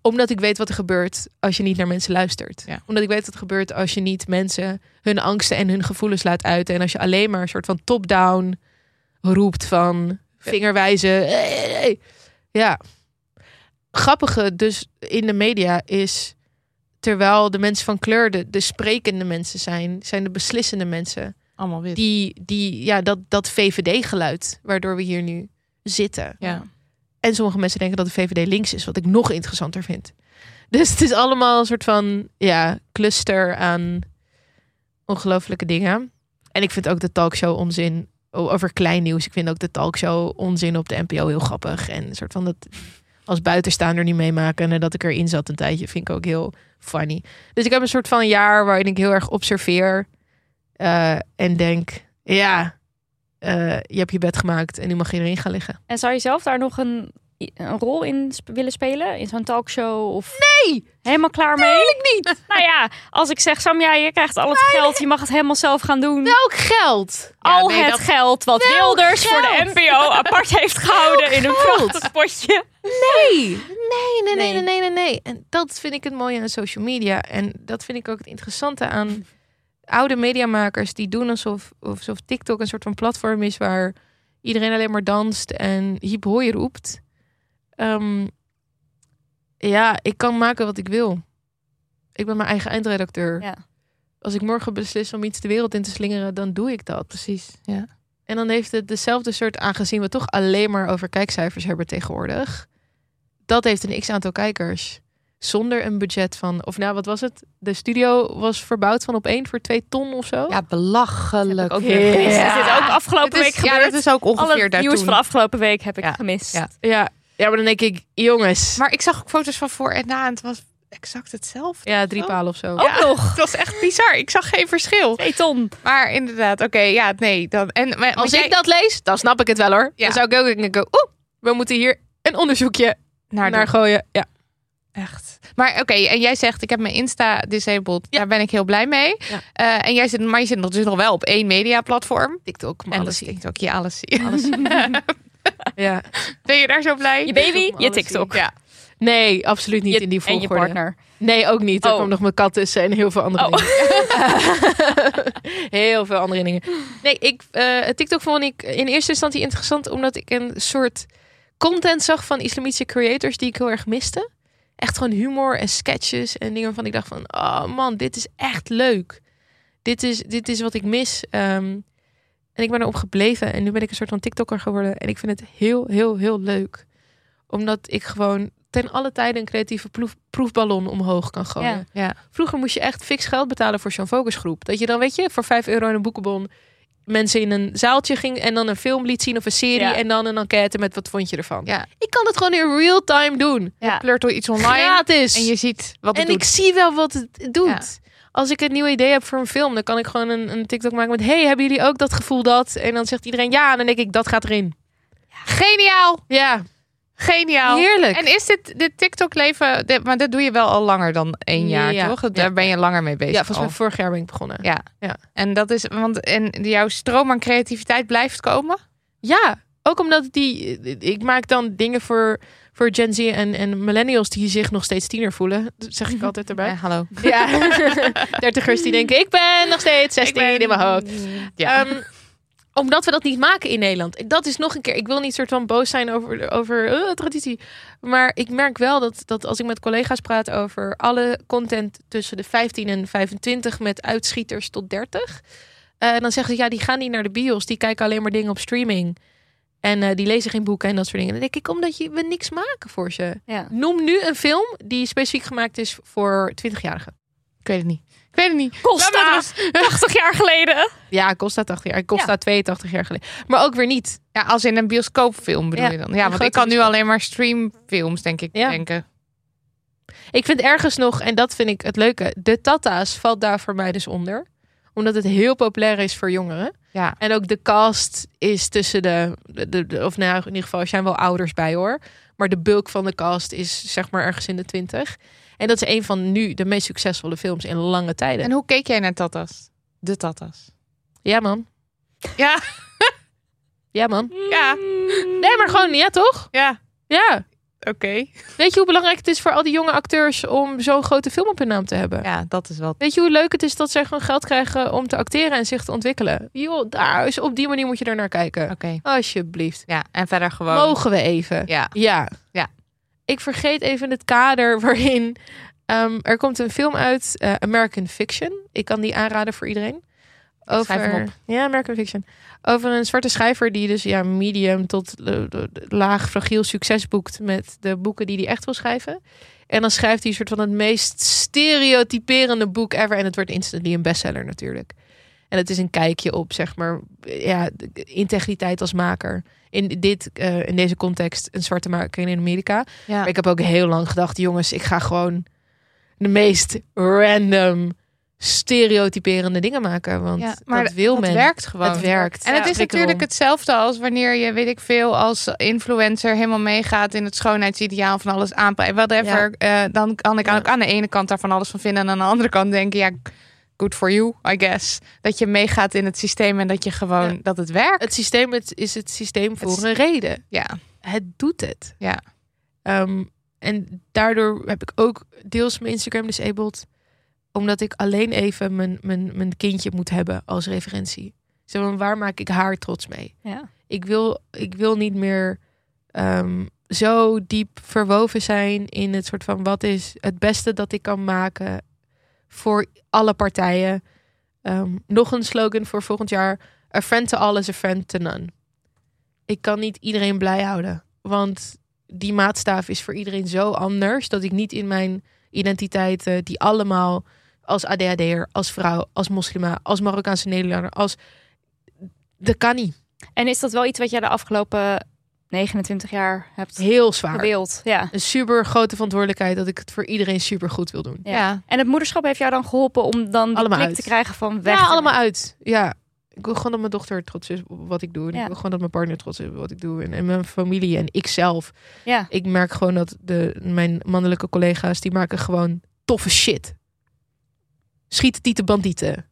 Omdat ik weet wat er gebeurt als je niet naar mensen luistert.
Ja.
Omdat ik weet wat er gebeurt als je niet mensen hun angsten en hun gevoelens laat uiten. En als je alleen maar een soort van top-down roept van vingerwijzen. "Hey, hey, hey." Ja. Grappige dus in de media is... terwijl de mensen van kleur de, de sprekende mensen zijn... zijn de beslissende mensen.
Allemaal wit.
Die, die ja, dat, dat VVD-geluid waardoor we hier nu zitten.
ja.
En sommige mensen denken dat de VVD links is, wat ik nog interessanter vind. Dus het is allemaal een soort van ja, cluster aan ongelofelijke dingen. En ik vind ook de talkshow onzin o- over klein nieuws. Ik vind ook de talkshow onzin op de NPO heel grappig. En een soort van dat als buitenstaander niet meemaken. En dat ik erin zat een tijdje, vind ik ook heel funny. Dus ik heb een soort van jaar waarin ik heel erg observeer. eh, en denk, ja, eh, je hebt je bed gemaakt en nu mag je erin gaan liggen.
En zou je zelf daar nog een, een rol in sp- willen spelen? In zo'n talkshow? Of...
Nee!
Helemaal klaar mee? Tuurlijk niet! nou ja, als ik zeg, Sam, ja, je krijgt al het geld. Je mag het helemaal zelf gaan doen.
Welk geld?
al
nee,
het
dat-
geld wat
Welk
Wilders voor de
geld?
NPO apart heeft gehouden in een
geld?
prachtig potje.
Nee, nee, nee, nee,
Nee.
nee, nee, nee, nee. En dat vind ik het mooie aan social media. En dat vind ik ook het interessante aan oude mediamakers die doen alsof, alsof TikTok een soort van platform is waar iedereen alleen maar danst en hiep hooi roept. Ehm, ja, ik kan maken wat ik wil. Ik ben mijn eigen eindredacteur.
Ja.
Als ik morgen beslis om iets de wereld in te slingeren, dan doe ik dat.
Precies, ja.
En dan heeft het dezelfde soort, aangezien we toch alleen maar over kijkcijfers hebben tegenwoordig. Dat heeft een x aantal kijkers. Zonder een budget van, of nou wat was het? De studio was verbouwd van op één voor twee ton of zo.
Ja, belachelijk.
Ook weer gemist.
Ja.
Is dit ook afgelopen
Het
week
is, ja,
gebeurd?
dat is ook ongeveer
Alle
daar
nieuws
toen.
van afgelopen week heb ik
Ja,
gemist.
ja.
ja. ja maar dan denk ik, jongens.
Maar ik zag ook foto's van voor en na en het was exact hetzelfde.
ja, drie
Oh.
palen of zo.
Ook nog.
Het was echt bizar. Ik zag geen verschil.
Twee ton.
Maar inderdaad, oké, ja, nee. Dan, en, maar, want
Als
jij-
ik dat lees, dan snap ik het wel hoor.
Ja.
Dan zou ik ook denken, oeh, we moeten hier een onderzoekje
naar,
naar
naar
gooien. Ja.
Echt. Maar oké, en jij zegt, ik heb mijn Insta disabled.
Ja.
Daar ben ik heel blij mee.
Ja.
Eh, en jij zit, maar je zit nog- dus nog wel op één mediaplatform.
TikTok,
En dat is TikTok. Ja, alles zie je.
Ja.
Ben je daar zo blij?
Je baby,
maar
je
alles
TikTok.
Ja.
Nee, absoluut niet
Je-
in die
en je
volgorde.
partner.
Nee, ook niet. Er
Oh.
kwam nog mijn kat tussen en heel veel andere
Oh.
dingen. heel veel andere dingen. Nee, ik, eh, TikTok vond ik in eerste instantie interessant... omdat ik een soort content zag van islamitische creators... die ik heel erg miste. Echt gewoon humor en sketches en dingen waarvan ik dacht van... oh man, dit is echt leuk. Dit is, dit is wat ik mis. Ehm, en ik ben erop gebleven. En nu ben ik een soort van TikToker geworden. En ik vind het heel, heel, heel leuk. Omdat ik gewoon ten alle tijden een creatieve proef- proefballon omhoog kan gooien.
Ja.
Ja.
Vroeger moest je echt fix geld betalen voor zo'n focusgroep. Dat je dan, weet je, voor 5 euro en een boekenbon mensen in een zaaltje ging en dan een film liet zien of een serie
Ja.
en dan een enquête met wat vond je ervan.
Ja.
Ik kan het gewoon in real time doen.
Ja.
Pleurt door iets online.
Gratis.
En je ziet wat het
En ik
doet.
zie wel wat het doet.
Ja.
Als ik een nieuw idee heb voor een film, dan kan ik gewoon een, een TikTok maken met: Hey, hebben jullie ook dat gevoel dat? En dan zegt iedereen ja. En dan denk ik: Dat gaat erin.
Geniaal.
Ja,
Geniaal.
Nou, heerlijk.
En is dit, dit TikTok-leven... dit- Maar dat doe je wel al langer dan één jaar,
Ja.
toch? Daar ben je langer mee bezig
ja, volgens
al.
mij vorig jaar ben ik begonnen.
Ja.
Ja.
En dat is... Want en jouw stroom aan creativiteit blijft komen?
Ja, Ook omdat die, ik maak dan dingen voor, voor Gen Z en, en millennials die zich nog steeds tiener voelen. Dat zeg ik altijd erbij.
Eh, hallo.
Mhm. Ja, dertigers die denken, ik ben nog steeds 16 in mijn hoofd.
Ja.
Ehm, omdat we dat niet maken in Nederland. Dat is nog een keer, ik wil niet soort van boos zijn over, over eh, traditie. Maar ik merk wel dat, dat als ik met collega's praat over alle content tussen de 15 en 25 met uitschieters tot 30. eh, dan zeggen ze, ja, die gaan niet naar de bios. Die kijken alleen maar dingen op streaming. En eh, die lezen geen boeken en dat soort dingen. Dan denk ik, omdat je, we niks maken voor ze.
Ja.
Noem nu een film die specifiek gemaakt is voor 20-jarigen.
Ik weet het niet. Ik weet het niet.
Nou,
Laat maar
Costa, 80 jaar geleden.
Ja, Costa 80 jaar. Costa 82 jaar geleden. Maar ook weer niet.
Ja, als in een bioscoopfilm bedoel
Ja,
je dan.
een
Ja, want
grote
ik kan nu
bioscoop.
alleen maar streamfilms, denk ik,
Ja.
denken.
Ik vind ergens nog, en dat vind ik het leuke, de Tata's valt daar voor mij dus onder. Omdat het heel populair is voor jongeren.
Ja.
En ook de cast is tussen de, de, de- of nou ja, in ieder geval, er zijn wel ouders bij hoor. Maar de bulk van de cast is zeg maar ergens in de 20. En dat is een van nu de meest succesvolle films in lange tijden.
En hoe keek jij naar Tatas? De Tatas.
Ja man.
Ja.
Ja man.
Ja.
Nee, maar gewoon ja toch?
Ja.
Ja.
Oké.
Weet je hoe belangrijk het is voor al die jonge acteurs om zo'n grote film op hun naam te hebben?
Ja, dat is wel...
Weet je hoe leuk het is dat zij gewoon geld krijgen om te acteren en zich te ontwikkelen? Joh, daar is, op die manier moet je er naar kijken.
Oké.
Alsjeblieft.
Ja, en verder gewoon...
Mogen we even?
Ja.
Ja.
Ja.
Ik vergeet even het kader waarin... ehm, er komt een film uit, eh, American Fiction. Ik kan die aanraden voor iedereen. Over,
schrijf hem op.
Ja, American Fiction. Over een zwarte schrijver die dus ja, medium tot eh, laag fragiel succes boekt... met de boeken die hij echt wil schrijven. En dan schrijft hij een soort van het meest stereotyperende boek ever. En het wordt instantly een bestseller natuurlijk. En het is een kijkje op, zeg maar, ja, de- de integriteit als maker. In, dit, eh, in deze context een zwarte maker in Amerika.
Ja.
Maar ik heb ook heel lang gedacht, jongens, ik ga gewoon de meest random, stereotyperende dingen maken. Want
Ja,
dat wil
het
men.
werkt gewoon.
Het werkt.
En het
Ja,
is
prik erom.
natuurlijk hetzelfde als wanneer je, weet ik veel, als influencer helemaal meegaat in het schoonheidsideaal van alles aanpakken. Whatever. Eh, dan kan ik
Ja.
ook aan de ene kant daar van alles van vinden. En aan de andere kant denken, ja, good for you, I guess. Dat je meegaat in het systeem en dat je gewoon,
Ja.
dat het werkt.
Het systeem het is het systeem voor
Het-
een reden.
Ja,
Het doet het.
Ja.
Ehm, en daardoor heb ik ook deels mijn Instagram disabled. Omdat ik alleen even mijn, mijn, mijn kindje moet hebben als referentie. Zeg maar, waar maak ik haar trots mee?
Ja.
ik wil, ik wil niet meer ehm, zo diep verwoven zijn in het soort van wat is het beste dat ik kan maken voor alle partijen. Ehm, nog een slogan voor volgend jaar: A friend to all is a friend to none. Ik kan niet iedereen blij houden, want die maatstaaf is voor iedereen zo anders dat ik niet in mijn identiteiten die allemaal als ADHD'er, als vrouw, als moslima, als Marokkaanse Nederlander, als dat kan niet.
En is dat wel iets wat jij de afgelopen 29 jaar hebt
Heel zwaar.
gebeeld? Ja.
een super grote verantwoordelijkheid dat ik het voor iedereen super goed wil doen.
Ja.
ja.
En het moederschap heeft jou dan geholpen om dan die
Allemaal
blik
uit.
te krijgen van weg.
Ja,
ermee.
allemaal uit. Ja. Ik wil gewoon dat mijn dochter trots is op wat ik doe. En
Ja.
Ik wil gewoon dat mijn partner trots is op wat ik doe. En, en mijn familie en ikzelf.
Ja.
Ik merk gewoon dat de, mijn mannelijke collega's, die maken gewoon toffe shit. Schiet tieten bandieten.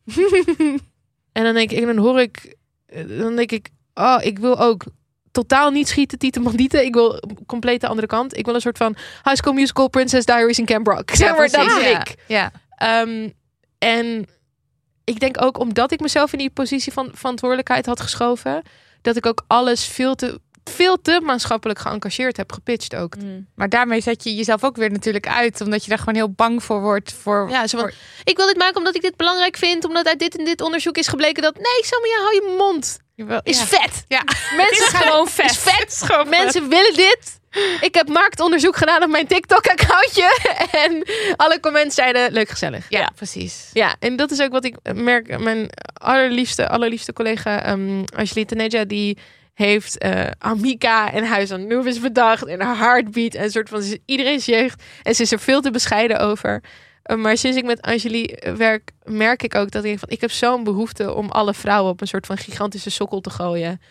en dan denk ik, en dan hoor ik, eh, dan denk ik, oh, ik wil ook totaal niet schieten tieten bandieten. Ik wil compleet de andere kant. Ik wil een soort van High School Musical Princess Diaries in Camp Rock. Zeg maar, dat
precies,
wil
ja.
ik.
Ja.
Ehm, en ik denk ook omdat ik mezelf in die positie van verantwoordelijkheid had geschoven, dat ik ook alles veel te, veel te maatschappelijk geëngageerd heb gepitcht ook.
Mm.
Maar daarmee zet je jezelf ook weer natuurlijk uit, omdat je daar gewoon heel bang voor wordt. Voor...
Ja, zo van, ik wil dit maken omdat ik dit belangrijk vind, omdat uit dit en dit onderzoek is gebleken dat nee, Samia, hou je mond.
Jawel,
Is
ja.
vet.
Ja.
Mensen gaan
Gewoon vet.
Is vet. Mensen willen dit. Ik heb marktonderzoek gedaan op mijn TikTok-accountje. En alle comments zeiden leuk gezellig.
Ja, precies.
Ja, en dat is ook wat ik merk. Mijn allerliefste, allerliefste collega ehm Angelique Teneja, die heeft eh Amika en Huis aan Noobis bedacht. En haar heartbeat en een soort van ze- iedereen's jeugd. En ze is er veel te bescheiden over. Eh, maar sinds ik met Angelique werk, merk ik ook dat ik denk van... Ik heb zo'n behoefte om alle vrouwen op een soort van gigantische sokkel te gooien.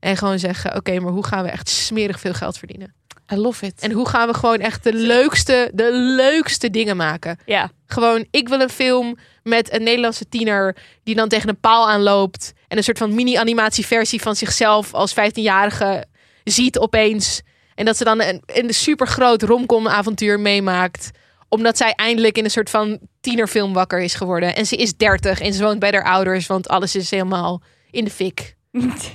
En gewoon zeggen, oké, maar hoe gaan we echt smerig veel geld verdienen?
I love it.
En hoe gaan we gewoon echt de leukste, de leukste dingen maken?
Ja.
Gewoon, ik wil een film met een Nederlandse tiener die dan tegen een paal aanloopt. En En een soort van mini-animatieversie van zichzelf als 15-jarige ziet opeens. En dat ze dan een, een super groot romcom-avontuur meemaakt. Omdat zij eindelijk in een soort van tienerfilm wakker is geworden. En ze is 30 en ze woont bij haar ouders, want alles is helemaal in de fik.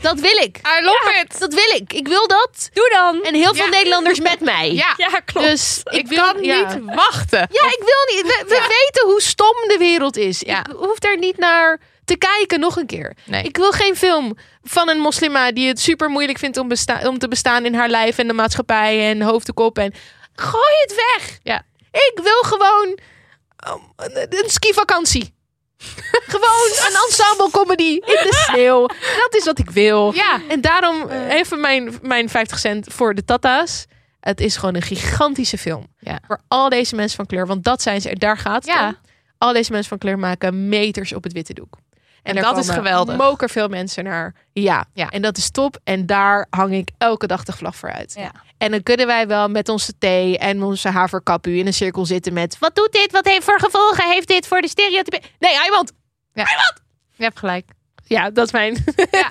Dat wil ik.
I love it.
Dat wil ik. Ik wil dat.
Doe dan!
En heel veel
Ja.
Nederlanders met mij.
Ja,
Ja, klopt.
Dus ik,
ik,
wil,
kan
ja.
niet wachten.
Ja, ik wil niet. We, we weten hoe stom de wereld is.
Ja.
Ik hoef daar niet naar te kijken nog een keer.
Nee.
Ik wil geen film van een moslima die het super moeilijk vindt om, besta- om te bestaan in haar lijf en de maatschappij en hoofd de kop. En gooi het weg.
Ja.
Ik wil gewoon um, een, een skivakantie. gewoon een ensemble comedy in de sneeuw. Dat is wat ik wil.
Ja.
En daarom eh, even mijn, mijn 50 cent voor de Tata's. Het is gewoon een gigantische film.
Ja.
Voor al deze mensen van kleur. Want dat zijn ze. Daar gaat het
Ja.
om. Al deze mensen van kleur maken meters op het witte doek.
En
daar
dat is
komen
geweldig.
mokerveel mensen naar. Ja.
Ja.
En dat is top. En daar hang ik elke dag de vlag voor uit.
Ja.
En dan kunnen wij wel met onze thee en onze haverkapu in een cirkel zitten met... Wat doet dit? Wat heeft voor gevolgen? Heeft dit voor de stereotype? Nee, iemand.
Je hebt gelijk.
Ja, dat is mijn...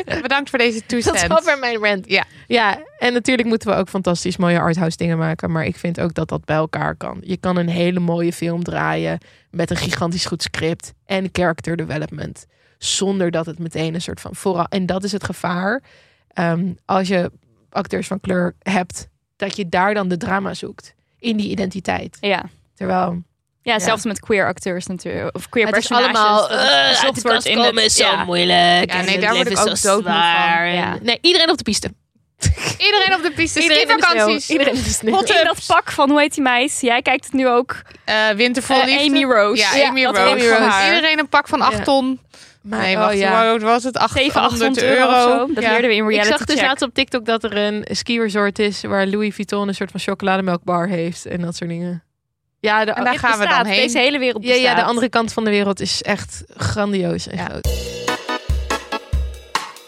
Ja, bedankt voor deze
Dat
toestand.
is over mijn rant.
Ja.
ja, en natuurlijk moeten we ook fantastisch mooie arthouse dingen maken. Maar ik vind ook dat dat bij elkaar kan. Je kan een hele mooie film draaien met een gigantisch goed script en character development. Zonder dat het meteen een soort van vooral. En dat is het gevaar. ehm, als je acteurs van kleur hebt, dat je daar dan de drama zoekt. In die identiteit.
Ja.
Terwijl
Ja, hetzelfde met queer acteurs natuurlijk. Of queer
het is
personages.
allemaal.
dat het
eh,
gezocht
uit de
wordt
kast komen
het-
is zo
ja.
moeilijk.
Ja,
en
nee,
het
daar word
leven
ik
is
ook
zo
doodmoe van.
zwaar. En-
Ja.
Nee, iedereen op de piste.
Dus Iedereen op de piste.
Iedereen in de
Skivakanties.
sneeuw. Iedereen in de sneeuw.
Hot in dat pak van, hoe heet die meid? Jij kijkt het nu ook.
Eh, Winter vol
Eh,
liefde.
Amy Rose.
Ja, Amy
dat
Rose.
weet ik van
Amy Rose.
haar.
Iedereen een pak van 8
Ja.
ton.
Maar,
nee, wacht,
oh ja.
hoe was het? 800,
700 euro,
euro.
of zo. Dat
Ja.
leerden we in
Ik
reality
zag dus
check. Oh,
laatst op TikTok dat er een ski-resort is waar Louis Vuitton een soort van chocolademelkbar heeft en dat soort dingen. Ja, de,
En daar
Dit
gaan we
bestaat.
dan heen.
Deze hele wereld
ja,
bestaat.
ja, de andere kant van de wereld is echt grandioos en
Ja.
groot.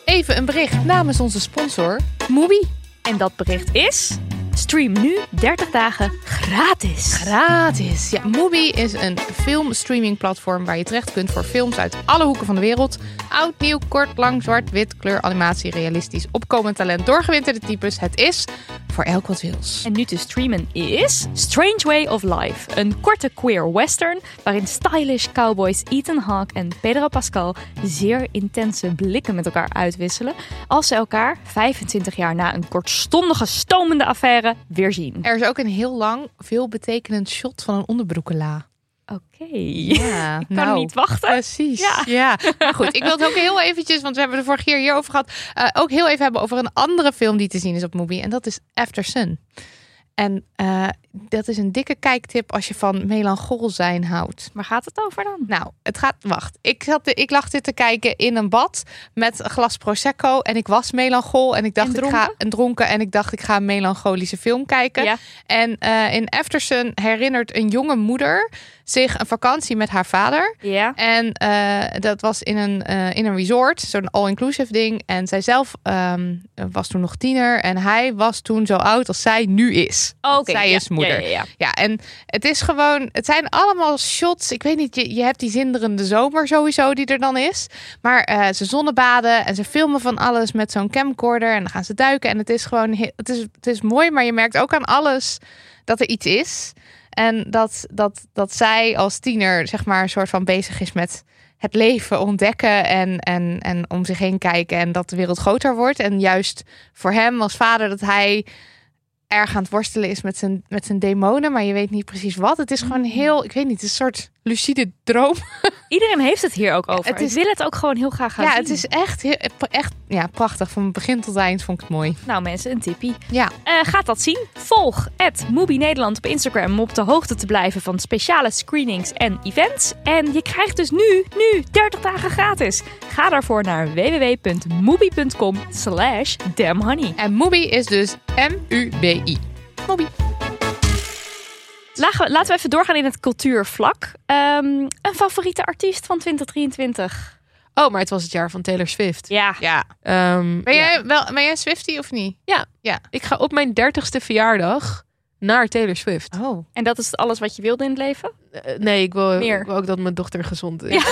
Even een bericht namens onze sponsor, Mubi.
En dat bericht is... Stream nu 30 dagen gratis.
Gratis. Ja, Mubi is een filmstreamingplatform waar je terecht kunt voor films uit alle hoeken van de wereld. Oud, nieuw, kort, lang, zwart, wit, kleur, animatie, realistisch, opkomend talent, doorgewinterde types. Het is voor elk wat wils.
En nu te streamen is Strange Way of Life, een korte queer western waarin stylish cowboys Ethan Hawke en Pedro Pascal zeer intense blikken met elkaar uitwisselen als ze elkaar 25 jaar na een kortstondige stomende affaire weer zien.
Er is ook een heel lang, veelbetekenend shot van een onderbroekela.
Oké,
Ja,
ik kan niet wachten.
Precies. Ja.
Ja.
Maar goed, ik wil het ook heel eventjes, want we hebben het de vorige keer hierover gehad, eh, ook heel even hebben over een andere film die te zien is op Mubi. En dat is After Sun. En eh, dat is een dikke kijktip als je van melanchol zijn houdt.
Waar gaat het over dan?
Nou, het gaat. Wacht. Ik, zat, ik lag dit te kijken in een bad met een glas Prosecco. En ik was melanchol. En ik dacht,
En
ik ga en dronken. En ik dacht, ik ga een melancholische film kijken.
Ja.
En eh, in Efterson herinnert een jonge moeder zich een vakantie met haar vader.
Ja.
En eh, dat was in een, eh, in een resort, zo'n all-inclusive ding. En zij zelf ehm, was toen nog tiener. En hij was toen zo oud als zij nu is.
Oh, Oké.
Zij
ja,
is moeder.
Ja, ja, ja.
Ja, en het is gewoon, het zijn allemaal shots. Ik weet niet, je, je hebt die zinderende zomer sowieso die er dan is. Maar eh, ze zonnebaden en ze filmen van alles met zo'n camcorder. En dan gaan ze duiken. En het is gewoon, he- het is, het is mooi, maar je merkt ook aan alles dat er iets is. En dat, dat, dat zij als tiener, zeg maar, een soort van bezig is met het leven ontdekken en, en, en om zich heen kijken. En dat de wereld groter wordt. En juist voor hem als vader, dat hij erg aan het worstelen is met zijn, met zijn demonen, maar je weet niet precies wat. Het is
Hmm.
gewoon heel, ik weet niet, het is een soort lucide droom.
Iedereen heeft het hier ook over.
het is-
Ik wil het ook gewoon heel graag gaan
ja,
zien.
het is echt, heel, echt ja, prachtig. Van begin tot eind vond ik het mooi.
Nou mensen, een tippie.
Ja,
Eh, gaat dat zien? Volg Mubi Nederland op Instagram om op de hoogte te blijven van speciale screenings en events. En je krijgt dus nu, nu 30 dagen gratis. Ga daarvoor naar www.mubi.com slash damhoney.
en Mubi is dus M-U-B-I. Mubi.
Lagen we- Laten we even doorgaan in het cultuurvlak. Ehm, een favoriete artiest van 2023?
Oh, maar het was het jaar van Taylor Swift.
Ja,
Ja.
Ehm,
Ben
ja.
jij, wel, ben jij Swifty of niet?
Ik ga op mijn dertigste verjaardag naar Taylor Swift.
Oh.
en dat is alles wat je wilde in het leven?
eh, nee, ik wil,
Meer.
ik wil ook dat mijn dochter gezond is.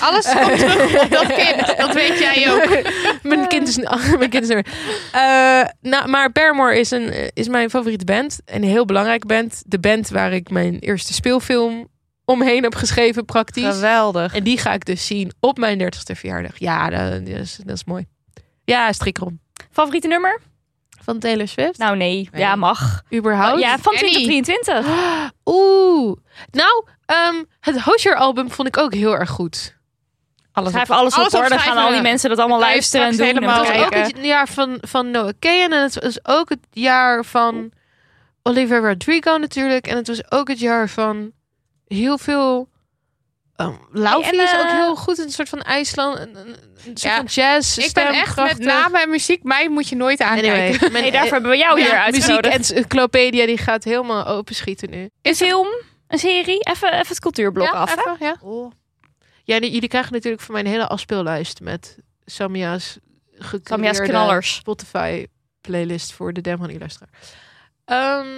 Alles komt terug op dat kind. Dat weet jij ook.
mijn kind is mijn kind is er. Eh, nou, maar Paramore is een eh, is mijn favoriete band, een heel belangrijke band, de band waar ik mijn eerste speelfilm omheen heb geschreven praktisch.
Geweldig.
En die ga ik dus zien op mijn 30ste verjaardag. Ja, dat, dat is, dat is mooi. Ja, strikrom.
Favoriete nummer?
Van Taylor Swift.
Nou nee,
Nee.
ja mag.
überhaupt.
ja, van
Kenny.
2023.
Oeh. Nou, ehm, het Hosier album vond ik ook heel erg goed. Alles
Schrijf alles op
alles
hoor, dan
opschrijven.
gaan al die mensen dat allemaal
Kan je
luisteren en
straks
doen. en
helemaal
Het was ook
bekijken.
het jaar van, van Noah Kahan. En het was ook het jaar van Oliver Rodrigo natuurlijk. En het was ook het jaar van heel veel... ehm Laufi
Hey, en,
is ook
eh,
heel goed. Een soort van IJsland. Een, een- een soort
Ja,
van jazz.
Ik ben echt met
stemkrachtig.
namen en muziek. Mij moet je nooit aankijken.
Anyway, mijn-
Nee, daarvoor hebben we jou
ja,
hier uitgenodigd.
muziek encyclopedia die gaat helemaal openschieten nu.
Een film, een serie, even, even het cultuurblok af. hè?
even, ja.
Ja, die- jullie krijgen natuurlijk van mijn hele afspeellijst met Samia's
Samja's
gekleurde
knallers.
Spotify playlist voor de Demon luisteraar. Ehm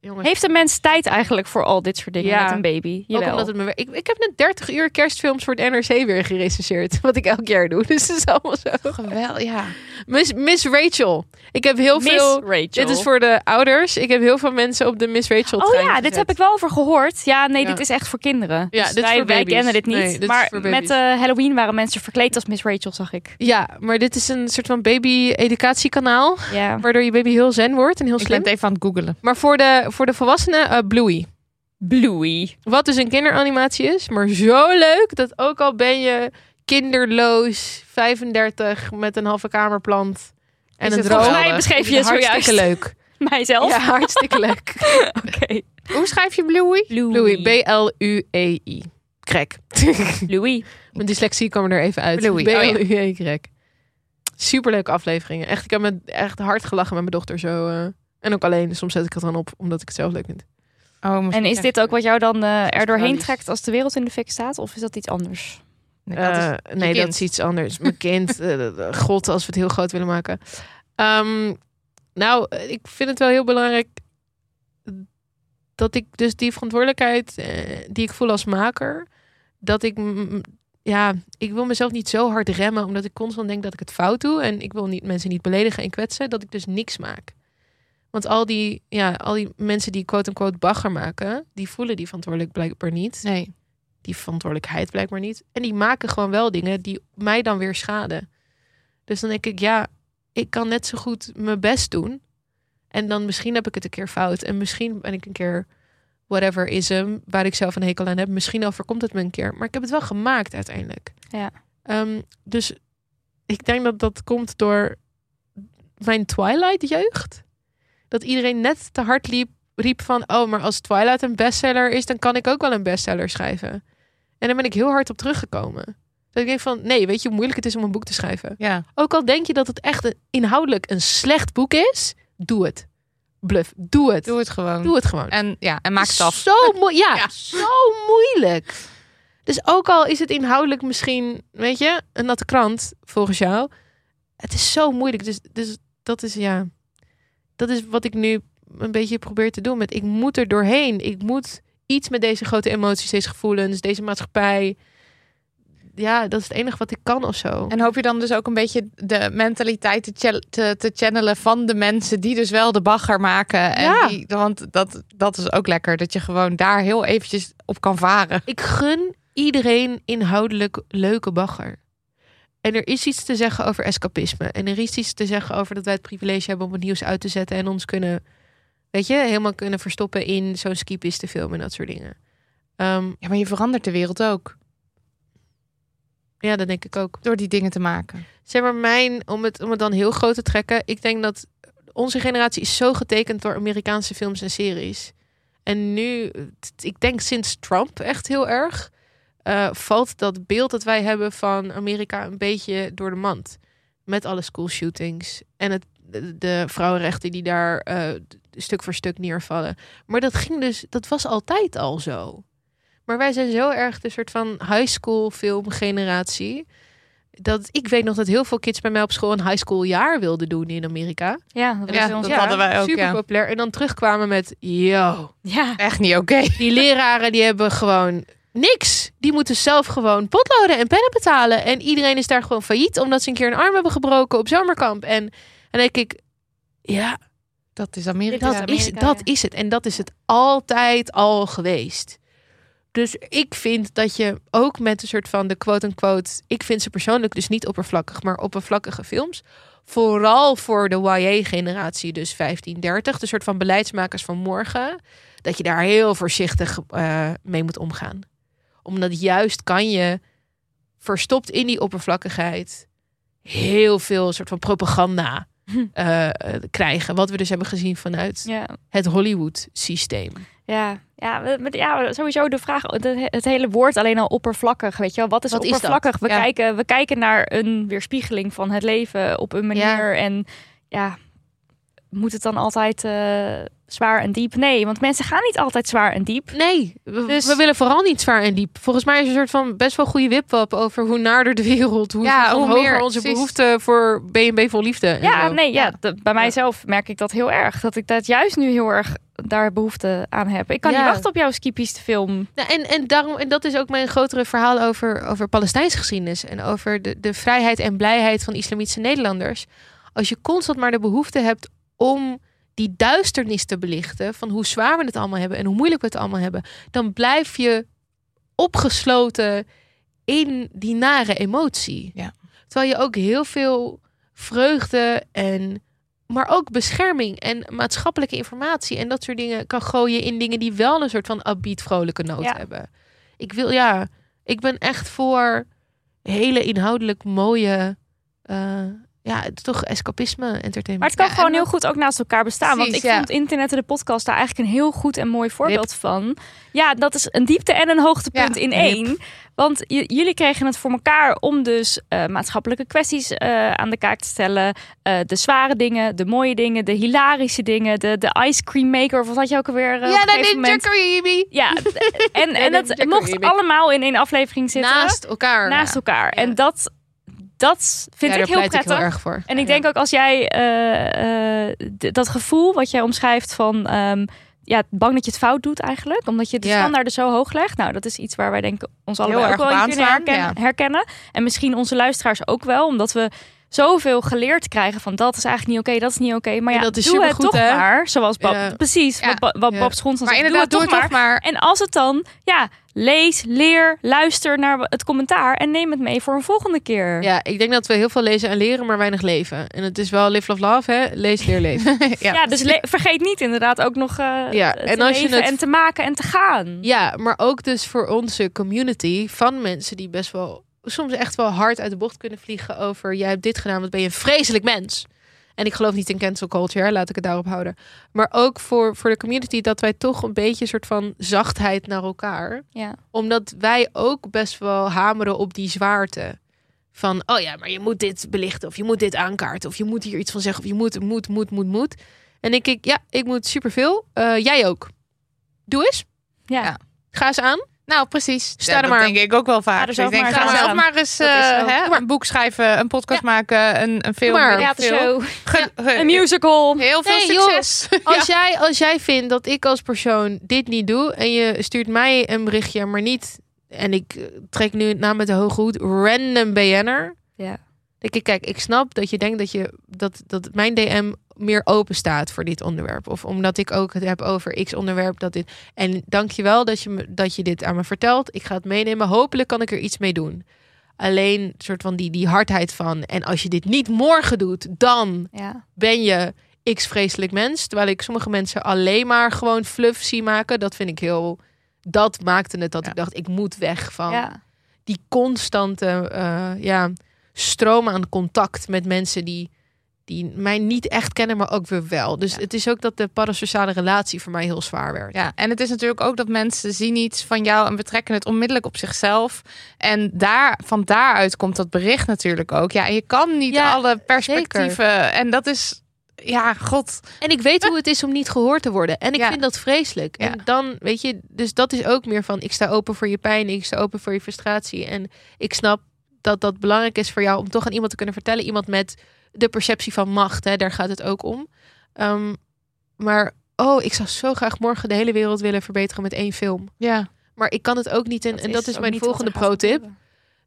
jongens,
Heeft een mens tijd eigenlijk voor al dit soort dingen
Ja.
met een baby?
ook
Jawel.
omdat het me wer- ik, ik heb net 30 uur kerstfilms voor het NRC weer gerecenseerd, wat ik elk jaar doe. Dus het is allemaal zo.
Geweldig, ja.
Miss, Miss Rachel. Ik heb heel
Miss
veel.
Rachel.
Dit is voor de ouders. Ik heb heel veel mensen op de Miss Rachel
Oh
trein
ja, dit
gezet.
heb ik wel over gehoord. Ja, nee,
Ja.
dit is echt voor kinderen.
Ja,
Dus
dit is
wij,
voor
wij
baby's.
kennen dit niet.
Nee, dit is
maar
voor
met
baby's.
eh, Halloween waren mensen verkleed als Miss Rachel, zag ik.
Ja, maar dit is een soort van baby-educatiekanaal.
Ja.
Waardoor je baby heel zen wordt en heel
Ik ben
slim.
het even aan het googelen.
Maar voor de, voor de volwassenen, eh, Bluey.
Bluey.
Wat dus een kinderanimatie is, maar zo leuk dat ook al ben je kinderloos, 35, met een halve kamerplant en
Is
een
het
droom.
volgens
mij beschreef je het
Hartstikke leuk.
Mijzelf?
Ja, hartstikke leuk.
Oké.
Hoe schrijf je Bluey?
Bluey, B-L-U-E-I. E Krek.
Bluey.
Mijn dyslexie kwam er even uit.
Bluey, oh
B-L-U-E, krek. Superleuke afleveringen. Echt, ik heb me echt hard gelachen met mijn dochter zo. eh. en ook alleen, soms zet ik het dan op, omdat ik het zelf leuk vind.
Oh, misschien
En is
krijg
dit
je-
ook wat jou dan eh, er doorheen
Australisch.
trekt als de wereld in de fik staat? Of is dat iets anders?
Nee, dat is-
Eh,
dus
nee, dat
kind.
is iets anders. Mijn kind, eh, eh, God, als we het heel groot willen maken. Ehm, nou, eh, ik vind het wel heel belangrijk dat ik dus die verantwoordelijkheid eh, die ik voel als maker, dat ik, m- m- ja, ik wil mezelf niet zo hard remmen, omdat ik constant denk dat ik het fout doe en ik wil niet, mensen niet beledigen en kwetsen, dat ik dus niks maak. Want al die, ja, al die mensen die quote-unquote bagger maken, die voelen die verantwoordelijk blijkbaar niet
Nee.
die verantwoordelijkheid blijkbaar niet. En die maken gewoon wel dingen die mij dan weer schaden. Dus dan denk ik, ja, ik kan net zo goed mijn best doen. En dan misschien heb ik het een keer fout. En misschien ben ik een keer whatever ism, waar ik zelf een hekel aan heb. Misschien overkomt het me een keer. Maar ik heb het wel gemaakt uiteindelijk.
Ja.
Ehm, dus ik denk dat dat komt door mijn Twilight-jeugd. Dat iedereen net te hard liep, riep van... oh, maar als Twilight een bestseller is... dan kan ik ook wel een bestseller schrijven. En daar ben ik heel hard op teruggekomen. Dat ik denk van, nee, weet je hoe moeilijk het is om een boek te schrijven?
Ja.
Ook al denk je dat het echt een, inhoudelijk een slecht boek is... doe het. Bluff, doe het.
Doe het gewoon.
Doe het gewoon.
En, ja, en maak het af.
Zo, moe- ja,
Ja.
zo moeilijk. Dus ook al is het inhoudelijk misschien, weet je, een natte krant volgens jou. Het is zo moeilijk. Dus, dus dat is ja, dat is wat ik nu een beetje probeer te doen. Met ik moet er doorheen. Ik moet iets met deze grote emoties, deze gevoelens, deze maatschappij. Ja, dat is het enige wat ik kan of zo.
En hoop je dan dus ook een beetje de mentaliteit te, chal- te, te channelen van de mensen die dus wel de bagger maken. En
Ja.
die, want dat, dat is ook lekker, dat je gewoon daar heel eventjes op kan varen.
Ik gun iedereen inhoudelijk leuke bagger. En er is iets te zeggen over escapisme. En er is iets te zeggen over dat wij het privilege hebben om het nieuws uit te zetten en ons kunnen, weet je, helemaal kunnen verstoppen in zo'n skipistenfilm en dat soort dingen. Ehm,
Ja, maar je verandert de wereld ook
ja, dat denk ik ook.
door die dingen te maken.
Zeg maar, mijn, om het, om het dan heel groot te trekken, ik denk dat onze generatie is zo getekend door Amerikaanse films en series. En nu, t- t- ik denk sinds Trump echt heel erg, eh, valt dat beeld dat wij hebben van Amerika een beetje door de mand. Met alle schoolshootings en het, de, de vrouwenrechten die daar eh, d- stuk voor stuk neervallen. Maar dat ging dus, dat was altijd al zo. Maar wij zijn zo erg de soort van high school filmgeneratie Dat, ik weet nog dat heel veel kids bij mij op school een high school jaar wilden doen in Amerika.
Ja, dat,
Ja,
is ons
dat hadden wij ook,
Super
ja.
populair. En dan terugkwamen met, yo,
ja.
Echt niet oké.
die leraren die hebben gewoon niks. Die moeten zelf gewoon potloden en pennen betalen. En iedereen is daar gewoon failliet omdat ze een keer een arm hebben gebroken op zomerkamp. En, en dan denk ik, ja,
Dat is Amerika.
dat, is,
Amerika,
dat
ja.
is het. En dat is het altijd al geweest. Dus ik vind dat je ook met een soort van de quote-unquote... Ik vind ze persoonlijk dus niet oppervlakkig, maar oppervlakkige films. Vooral voor de YA-generatie, dus 1530. De soort van beleidsmakers van morgen. Dat je daar heel voorzichtig eh, mee moet omgaan. Omdat juist kan je verstopt in die oppervlakkigheid... heel veel soort van propaganda
Hm.
eh, eh, krijgen. Wat we dus hebben gezien vanuit
Ja,
het Hollywood-systeem.
ja, ja, we- met- ja, sowieso de vraag, de- het hele woord alleen al oppervlakkig, weet je wel. Wat is
Wat is dat?
oppervlakkig? we,
Ja.
kijken, we kijken naar een weerspiegeling van het leven op een manier en ja, moet het dan altijd eh, zwaar en diep? Nee, want mensen gaan niet altijd zwaar en diep.
Nee, we,
Dus-
we willen vooral niet zwaar en diep. Volgens mij is er een soort van best wel goede wipwap over hoe naarder de wereld, hoe,
Ja,
hoe
hoe
hoger
meer,
onze
precies.
behoefte voor BNB vol liefde. en
Ja,
zo.
nee, ja.
Ja.
de- bij mijzelf merk ik dat heel erg. Dat ik dat juist nu heel erg daar behoefte aan heb. Ik kan
Ja.
niet wachten op jouw skipiest film.
Nou, en, en, daarom, en dat is ook mijn grotere verhaal over, over Palestijnse geschiedenis. En over de, de vrijheid en blijheid van islamitische Nederlanders. Als je constant maar de behoefte hebt om die duisternis te belichten. van hoe zwaar we het allemaal hebben en hoe moeilijk we het allemaal hebben. dan blijf je opgesloten in die nare emotie.
Ja.
Terwijl je ook heel veel vreugde en. Maar ook bescherming en maatschappelijke informatie en dat soort dingen kan gooien in dingen die wel een soort van abiet vrolijke noot
Ja.
hebben. Ik wil ja, ik ben echt voor hele inhoudelijk mooie, eh, ja, het is toch escapisme entertainment.
Maar het kan
Ja, en
gewoon heel
dat-
goed ook naast elkaar bestaan.
Precies,
want ik
ja.
vond internet en de podcast daar eigenlijk een heel goed en mooi voorbeeld van. Ja, dat is een diepte en een hoogtepunt
Ja,
in
hip.
één. Want j- jullie kregen het voor elkaar om dus eh, maatschappelijke kwesties eh, aan de kaak te stellen. Eh, de zware dingen, de mooie dingen, de hilarische dingen. De, de ice cream maker, of wat had je ook alweer? eh, op
ja,
een
dat
gegeven
is
moment?
Jacobi
Ja, d- en, en
dat
dat
checken
mocht
jullie.
allemaal in één aflevering zitten.
naast elkaar.
naast elkaar.
Ja.
En dat, dat vind ik
Ja, daar
heel
pleit
prettig.
heel erg voor.
En ik denk ook als jij eh, eh, d- dat gevoel wat jij omschrijft van ehm, ja, bang dat je het fout doet eigenlijk. Omdat je de
Ja.
standaarden zo hoog legt. Nou, dat is iets waar wij denken ons allemaal ook
erg
wel
op
in kunnen
aanslaan,
herkennen, herkennen. En misschien onze luisteraars ook wel. Omdat we zoveel geleerd krijgen van dat is eigenlijk niet oké, dat is niet oké. Maar
En
ja,
dat is
doe het
supergoed,
toch
hè?
maar. Zoals Bab,
Ja.
precies,
Ja.
wat, Ba- wat
Ja.
Bab Schonsens
Maar
zegt,
inderdaad,
doe het toch maar.
maar.
En als het dan, ja, lees, leer, luister naar het commentaar en neem het mee voor een volgende keer.
Ja, ik denk dat we heel veel lezen en leren, maar weinig leven. En het is wel live, love, love, hè? Lees, leer, leven.
Ja, dus le- vergeet niet inderdaad ook nog eh
Ja,
te
en als je
leven
het-
en te maken en te gaan.
ja, maar ook dus voor onze community van mensen die best wel soms echt wel hard uit de bocht kunnen vliegen over jij hebt dit gedaan, wat ben je een vreselijk mens. En ik geloof niet in cancel culture, hè, laat ik het daarop houden. Maar ook voor, voor de community dat wij toch een beetje een soort van zachtheid naar elkaar.
Ja.
Omdat wij ook best wel hameren op die zwaarte. Van, oh ja, maar je moet dit belichten. Of je moet dit aankaarten. Of je moet hier iets van zeggen. Of je moet, moet, moet, moet, moet. En ik, ik ja, ik moet superveel. Eh jij ook. Doe eens.
Ja.
Ja.
Ga eens aan.
Nou, precies.
Sta
Ja,
er
dat
maar.
denk ik ook wel vaak.
Ga er zelf
ik denk,
maar
ga
eens aan.
zelf maar eens
Dat is
eh,
zo.
hè, een boek schrijven, een podcast maken, een, een film.
Doe maar.
weet ik
Theatershow,
veel. Ge- ge-
een musical.
Heel veel
Nee, joh.
succes.
Als, jij, als jij vindt dat ik als persoon dit niet doe. En je stuurt mij een berichtje, maar niet. En ik eh, trek nu het naam met de hoge hoed. Random BN'er.
Ja.
Denk ik, kijk, ik snap dat je denkt dat, je, dat, dat mijn DM meer open staat voor dit onderwerp. Of omdat ik ook het heb over x onderwerp. Dat dit... En dankjewel dat je, me- dat je dit aan me vertelt. Ik ga het meenemen. Hopelijk kan ik er iets mee doen. Alleen soort van die, die hardheid van. En als je dit niet morgen doet, dan
Ja.
ben je x vreselijk mens. Terwijl ik sommige mensen alleen maar gewoon fluff zie maken. Dat vind ik heel... Dat maakte het dat
Ja.
ik dacht, ik moet weg van
Ja.
die constante eh, ja, stroom aan contact met mensen die, die mij niet echt kennen, maar ook weer wel. Dus
Ja.
het is ook dat de parasociale relatie voor mij heel zwaar werd.
Ja, en het is natuurlijk ook dat mensen zien iets van jou en betrekken het onmiddellijk op zichzelf. En daar, van daaruit komt dat bericht natuurlijk ook. Ja, en je kan niet
Ja,
alle perspectieven. En dat is, ja, god.
En ik weet hoe het is om niet gehoord te worden. En ik
Ja.
vind dat vreselijk.
Ja.
En dan, weet je, dus dat is ook meer van... ik sta open voor je pijn, ik sta open voor je frustratie. En ik snap dat dat belangrijk is voor jou om toch aan iemand te kunnen vertellen. Iemand met de perceptie van macht, hè, daar gaat het ook om. Ehm, maar oh, ik zou zo graag morgen de hele wereld willen verbeteren met één film.
Ja.
Maar ik kan het ook niet. En dat, en dat is, mijn volgende pro-tip.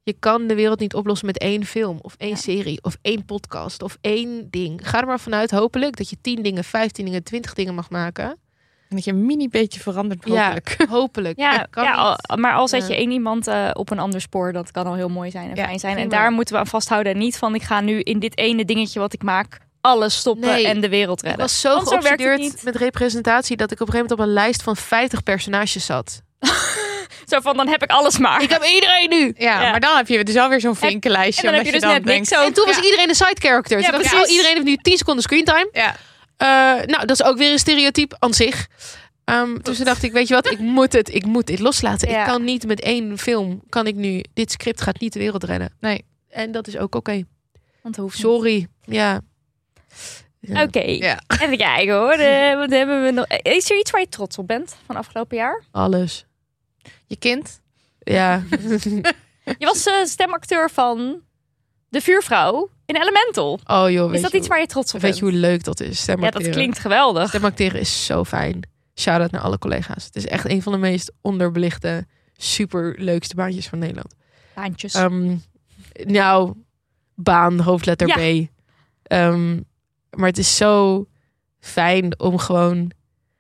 Je kan de wereld niet oplossen met één film of één
Ja.
serie of één podcast of één ding. Ga er maar vanuit, hopelijk, dat je tien dingen, vijftien dingen, twintig dingen mag maken.
En dat je een mini beetje verandert, hopelijk.
Ja, hopelijk.
Ja,
Het kan
ja,
niet.
al- maar al zet
Ja.
je één iemand eh, op een ander spoor, dat kan al heel mooi zijn en
Ja,
fijn zijn. En
prima.
daar moeten we aan vasthouden. En niet van, ik ga nu in dit ene dingetje wat ik maak, alles stoppen
Nee.
en de wereld
Ik
redden.
was zo
Want zo werkt het
geobsedeerd
niet.
met representatie dat ik op een gegeven moment op een lijst van 50 personages zat.
Zo van, dan heb ik alles maar.
Ik heb iedereen nu!
Ja,
Ja.
maar dan heb je dus alweer zo'n vinkenlijstje.
en dan heb je
omdat
dus net
dan
niks
denkt,
over.
En toen was iedereen een side character. Toen
Ja,
dacht ik,
precies.
oh, iedereen heeft nu 10 seconden screentime.
Ja.
Eh, nou, dat is ook weer een stereotype aan zich. Ehm dus toen dacht ik, weet je wat, ik moet het, ik moet dit loslaten.
Ja.
Ik kan niet met één film, kan ik nu, dit script gaat niet de wereld redden.
Nee.
En dat is ook oké.
Want dat hoeft niet.
Sorry. Ja.
Oké,
Ja.
even kijken hoor. Eh, wat hebben we nog? Eh, Is er iets waar je trots op bent van afgelopen jaar?
Alles.
Je kind?
Ja.
Je was eh, stemacteur van De Vuurvrouw in Elemental.
Oh joh, weet
Is dat
je
iets waar je trots op
Weet
bent?
je hoe leuk dat is? Stem
ja, dat klinkt geweldig.
Stemacteren is zo fijn. Shout-out naar alle collega's. Het is echt een van de meest onderbelichte, super leukste baantjes van Nederland.
Baantjes.
Ehm, nou, baan, hoofdletter B. Ehm, maar het is zo fijn om gewoon...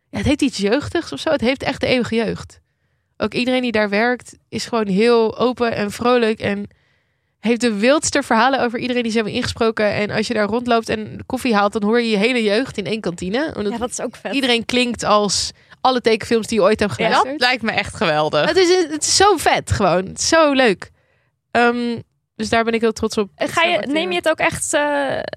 Ja, het heeft iets jeugdigs of zo. Het heeft echt de eeuwige jeugd. Ook iedereen die daar werkt is gewoon heel open en vrolijk en heeft de wildste verhalen over iedereen die ze hebben ingesproken. En als je daar rondloopt en koffie haalt, dan hoor je je hele jeugd in één kantine. Omdat
ja, dat is ook vet.
iedereen klinkt als alle tekenfilms die je ooit hebt
Ja,
geluisterd.
dat lijkt me echt geweldig.
Het, is, het is zo vet gewoon. Het is zo leuk. Ehm, dus daar ben ik heel trots op.
Eh, Ga je, neem je het ook echt, eh,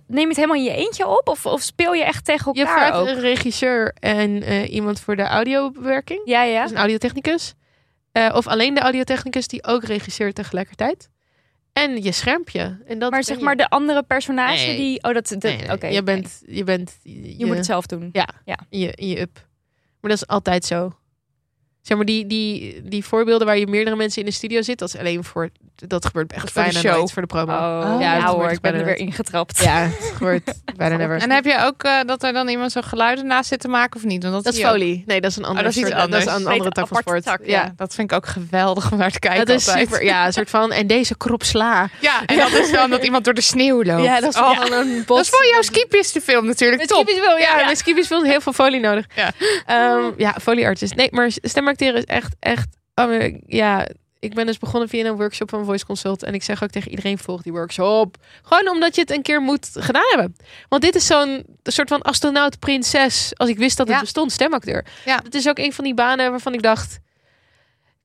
neem je het helemaal in je eentje op? Of, of speel je echt tegen
Je
elkaar
vraagt
ook?
een regisseur en eh, iemand voor de audiobewerking.
Ja, ja.
Dus een audiotechnicus. Eh, of alleen de audiotechnicus die ook regisseert tegelijkertijd. En je schermpje. En dat
Maar
ben
zeg
je.
maar de andere personage
Nee.
die... Oh, dat... dat
Nee, nee,
Oké.
je,
oké.
bent, je bent... Je,
Je moet het zelf doen.
je, in je up. Maar dat is altijd zo. Zeg maar, die, die, die voorbeelden waar je meerdere mensen in de studio zit, dat is alleen voor... Dat gebeurt echt
voor de
bijna
show.
nooit voor de promo.
Oh,
ja,
ja,
dat
hoor,
gebeurt
ik ben
bijna
er
nooit.
weer ingetrapt.
Ja, het gebeurt bijna never.
En heb je ook eh, dat er dan iemand zo'n geluiden naast zit te maken of niet? Want dat,
Dat is
zie je ook.
folie. Nee, Oh, dat is een andere
dat is iets
soort- dat is
anders.
een andere
Weet,
tak van
aparte
sport.
tak,
ja.
Ja, dat vind ik ook geweldig om naar te kijken.
Dat is
altijd.
super. Ja, een soort van. En deze krop sla.
Ja, en dat is dan dat iemand door de sneeuw loopt.
Ja, dat is
Oh,
wel een
dat
bot.
is voor jouw skipistenfilm natuurlijk.
Met
Top.
skippies wil, ja,
Ja.
met skippies wil heel veel folie nodig.
Ja.
Ehm, ja, folieartist. Nee, maar stemacteren is echt, echt. oh, maar, ja, ik ben dus begonnen via een workshop van Voice Consult. En ik zeg ook tegen iedereen: volg die workshop. Gewoon omdat je het een keer moet gedaan hebben. Want dit is zo'n soort van astronaut-prinses. Als ik wist dat het
Ja.
bestond, stemacteur.
Ja.
Het is ook een van die banen waarvan ik dacht: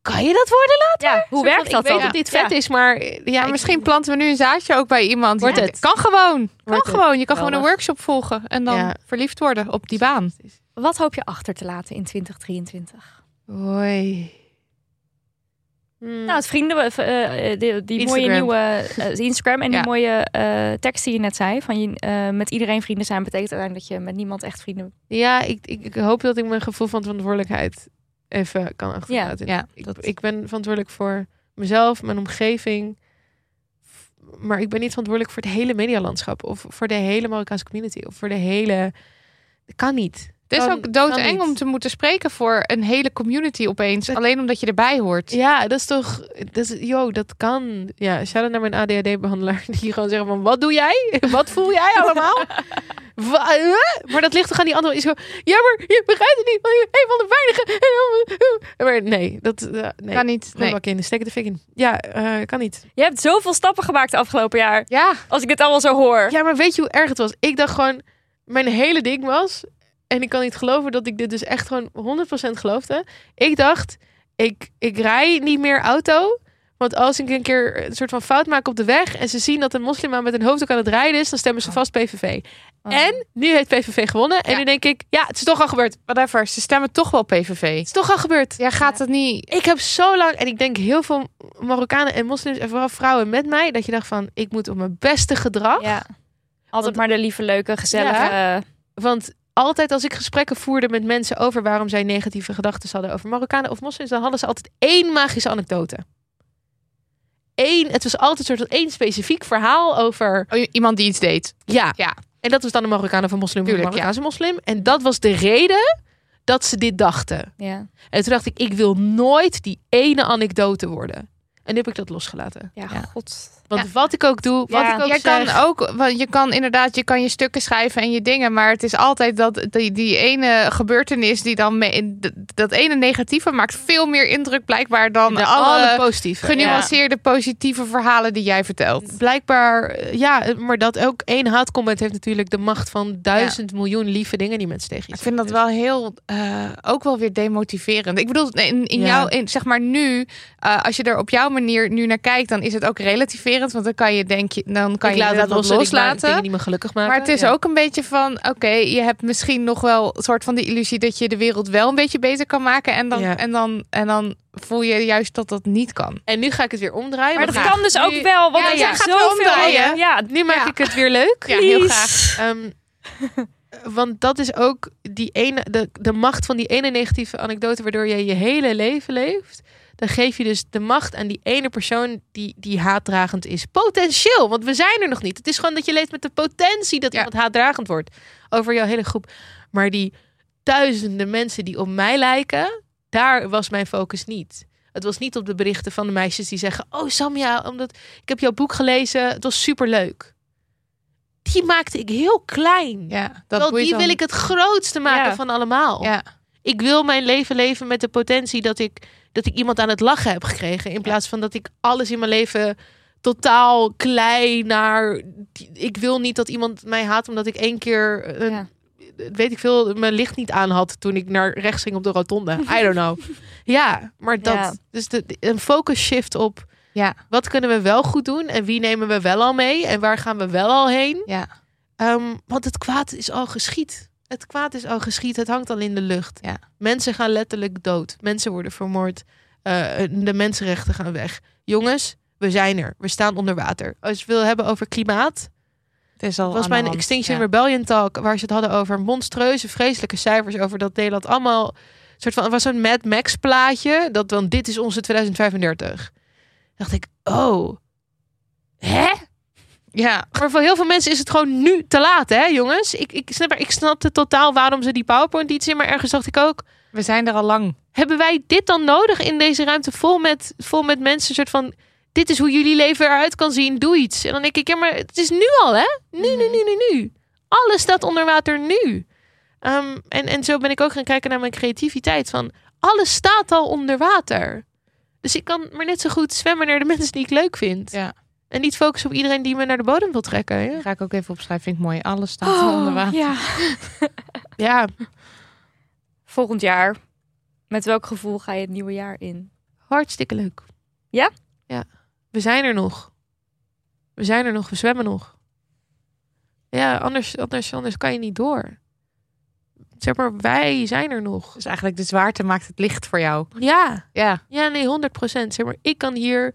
kan je dat worden?
Ja, hoe
Soort van,
werkt dat
Ik weet
dan?
dat dit vet
Ja.
is, maar. eh, Ja,
Maar
ik-
misschien planten we nu een zaadje ook bij iemand.
Wordt
Ja,
het.
Kan gewoon. Kan
Wordt het.
gewoon. Je kan gewoon een
Geweldig.
workshop volgen en dan
Ja.
verliefd worden op die baan.
Wat hoop je achter te laten in 2023?
Hoi.
Hmm.
Nou, het vrienden, eh, eh, die, die mooie
Instagram.
nieuwe eh, Instagram en
Ja.
die mooie eh, tekst die je net zei. Van je, eh, met iedereen vrienden zijn betekent uiteindelijk dat je met niemand echt vrienden
Ja, ik, ik, ik hoop dat ik mijn gevoel van verantwoordelijkheid even kan achterlaten.
Ja,
ik,
dat-
ik ben verantwoordelijk voor mezelf, mijn omgeving. F- Maar ik ben niet verantwoordelijk voor het hele medialandschap. Of voor de hele Marokkaanse community. Of voor de hele... Dat kan niet.
Het is
Kan-
ook doodeng
kan niet.
om te moeten spreken voor een hele community opeens.
Dat-
Alleen omdat je erbij hoort.
Ja, dat is toch... Dat is, yo, dat kan. Ja, shout-out naar mijn ADHD-behandelaar. Die gewoon zeggen van, wat doe jij? Wat voel jij allemaal? Wa- eh? maar dat ligt toch aan die andere... Is gewoon, ja, maar je begrijpt het niet. Want je bent een van de weinigen. Maar nee, dat... eh, nee.
Kan niet.
Nee.
Nee.
in, steek de fik in. Ja, eh, kan niet.
Je hebt zoveel stappen gemaakt de afgelopen jaar.
Ja,
Als ik dit allemaal zo hoor.
Ja, maar weet je hoe erg het was? Ik dacht gewoon, mijn hele ding was, en ik kan niet geloven dat ik dit dus echt gewoon 100% geloofde. Ik dacht, ik, ik rij niet meer auto. Want als ik een keer een soort van fout maak op de weg en ze zien dat een moslim met een hoofddoek aan het rijden is, dan stemmen
Oh.
ze vast PVV. En nu heeft PVV gewonnen. En
Ja.
nu denk ik, ja, het is toch al gebeurd. Het
whatever. Ze stemmen toch wel PVV.
is toch al gebeurd.
Jij gaat het niet.
Ik heb zo lang, en ik denk heel veel Marokkanen en moslims en vooral vrouwen met mij, dat je dacht van, ik moet op mijn beste gedrag.
Ja. Altijd maar de lieve, leuke, gezellige. eh,
Want altijd als ik gesprekken voerde met mensen over waarom zij negatieve gedachten hadden over Marokkanen of moslims, dan hadden ze altijd één magische anekdote. één, het was altijd een soort van één specifiek verhaal over,
Oh, i- iemand die iets deed.
ja.
Ja.
En dat was dan een Marokkaan of een moslim, of een
Tuurlijk, ja.
Marokkaanse moslim. En dat was de reden dat ze dit dachten.
Ja.
En toen dacht ik, ik wil nooit die ene anekdote worden. En nu heb ik dat losgelaten.
Ja,
Ja.
god.
Want wat ik ook doe, wat
Ja.
ik ook
Jij
zeg...
kan ook, want je kan inderdaad, je kan je stukken schrijven en je dingen, maar het is altijd dat die, die ene gebeurtenis die dan mee, d- dat ene negatieve maakt veel meer indruk blijkbaar dan
de
alle,
alle positieve.
genuanceerde positieve verhalen die jij vertelt.
Ja. Blijkbaar, eh, ja, maar dat ook één haatcomment heeft natuurlijk de macht van duizend miljoen lieve dingen die mensen tegen je
Ik vind dat wel heel, eh, ook wel weer demotiverend. Ik bedoel, in, in
Ja.
jou, in, zeg maar nu, eh, als je er op jouw manier nu naar kijkt, dan is het ook relativerend, want dan kan je denk je, dan kan
ik
je
laat
dat
dat los, en ik maak
loslaten.
dingen die me gelukkig maken.
Maar het is
Ja.
ook een beetje van, oké, je hebt misschien nog wel een soort van de illusie dat je de wereld wel een beetje beter kan maken. En dan,
Ja.
en dan, en dan voel je juist dat dat niet kan.
En nu ga ik het weer omdraaien.
Maar
want
dat
ja,
kan dus ook
nu-
wel, want
Ja,
er
ja.
zijn
Gaat wel
zoveel...
omdraaien.
Ja,
Nu maak
Ja.
ik het weer leuk.
Ja, heel
Please.
graag.
Ehm, want dat is ook die ene, de, de macht van die ene negatieve anekdote, waardoor jij je hele leven leeft. Dan geef je dus de macht aan die ene persoon die, die haatdragend is. Potentieel, want we zijn er nog niet. Het is gewoon dat je leeft met de potentie dat
Ja.
iemand haatdragend wordt over jouw hele groep. Maar die duizenden mensen die op mij lijken, daar was mijn focus niet. Het was niet op de berichten van de meisjes die zeggen: Oh, Samja, omdat ik heb jouw boek gelezen, het was superleuk. Die maakte ik heel klein.
Ja,
Wel,
dat boeit
die
dan-
wil ik het grootste maken
Ja.
van allemaal.
Ja.
Ik wil mijn leven leven met de potentie dat ik, dat ik iemand aan het lachen heb gekregen. In plaats van dat ik alles in mijn leven totaal klein naar. Ik wil niet dat iemand mij haat omdat ik één keer een,
Ja.
weet ik veel, mijn licht niet aan had toen ik naar rechts ging op de rotonde. I don't know. Ja, maar dat.
Ja.
Dus de, de- een focus shift op
Ja.
wat kunnen we wel goed doen en wie nemen we wel al mee en waar gaan we wel al heen.
Ja.
Ehm, want het kwaad is al geschied. Het kwaad is al geschied. Het hangt al in de lucht.
Ja.
Mensen gaan letterlijk dood. Mensen worden vermoord. Eh, de mensenrechten gaan weg. Jongens, we zijn er. We staan onder water. Als je het wil hebben over klimaat,
Het is al
was
aan de
bij een
hand.
Extinction
Ja.
Rebellion talk waar ze het hadden over monstreuze, vreselijke cijfers over dat Nederland allemaal soort van het was zo'n Mad Max plaatje dat dan dit is onze 2035. Dacht ik, oh, hè?
Ja,
Maar voor heel veel mensen is het gewoon nu te laat, hè, jongens? Ik, ik snap, ik snapte totaal waarom ze die PowerPoint iets in, maar ergens dacht ik ook,
we zijn er al lang.
hebben wij dit dan nodig in deze ruimte vol met, vol met mensen? Een soort van, dit is hoe jullie leven eruit kan zien, doe iets. En dan denk ik, ja, maar het is nu al, hè? Nu, nu, nu, nu, nu. Alles staat onder water nu. Ehm, en, en zo ben ik ook gaan kijken naar mijn creativiteit. Van, alles staat al onder water. Dus ik kan maar net zo goed zwemmen naar de mensen die ik leuk vind.
Ja.
En niet focussen op iedereen die me naar de bodem wil trekken. Ja,
Die ga ik ook even opschrijven, vind ik mooi. Alles staat onder
Oh,
water.
ja.
ja.
Volgend jaar, met welk gevoel ga je het nieuwe jaar in?
hartstikke leuk.
Ja?
Ja. We zijn er nog. We zijn er nog, we zwemmen nog. Ja, anders, anders, anders kan je niet door. Zeg maar, wij zijn er nog.
Dus eigenlijk de zwaarte maakt het licht voor jou.
Ja,
Ja,
ja nee, 100 Zeg maar, ik kan, hier,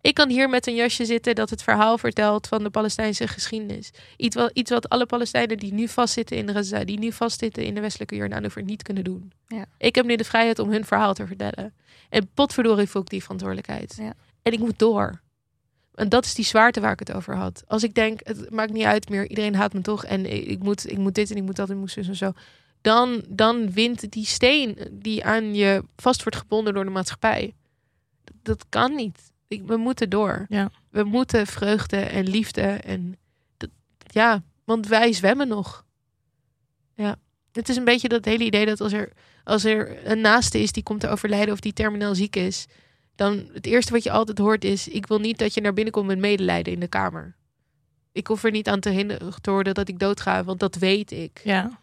ik kan hier met een jasje zitten dat het verhaal vertelt van de Palestijnse geschiedenis. Iets wat, iets wat alle Palestijnen die nu vastzitten in Gaza, die nu vastzitten in de westelijke Jordaanoever niet kunnen doen.
Ja.
Ik heb nu de vrijheid om hun verhaal te vertellen. En potverdorie voel ik die verantwoordelijkheid.
Ja.
En ik moet door. En dat is die zwaarte waar ik het over had. Als ik denk, het maakt niet uit meer, iedereen haat me toch en ik moet, ik moet dit en ik moet dat en ik moet zus en zo. Dan, dan wint die steen die aan je vast wordt gebonden door de maatschappij. Dat kan niet. Ik, we moeten door.
Ja.
We moeten vreugde en liefde en dat- ja, want wij zwemmen nog. Ja, het is een beetje dat hele idee dat als er, als er een naaste is die komt te overlijden of die terminaal ziek is, dan het eerste wat je altijd hoort is: ik wil niet dat je naar binnen komt met medelijden in de kamer. Ik hoef er niet aan te hinder- te worden dat ik doodga, want dat weet ik.
ja.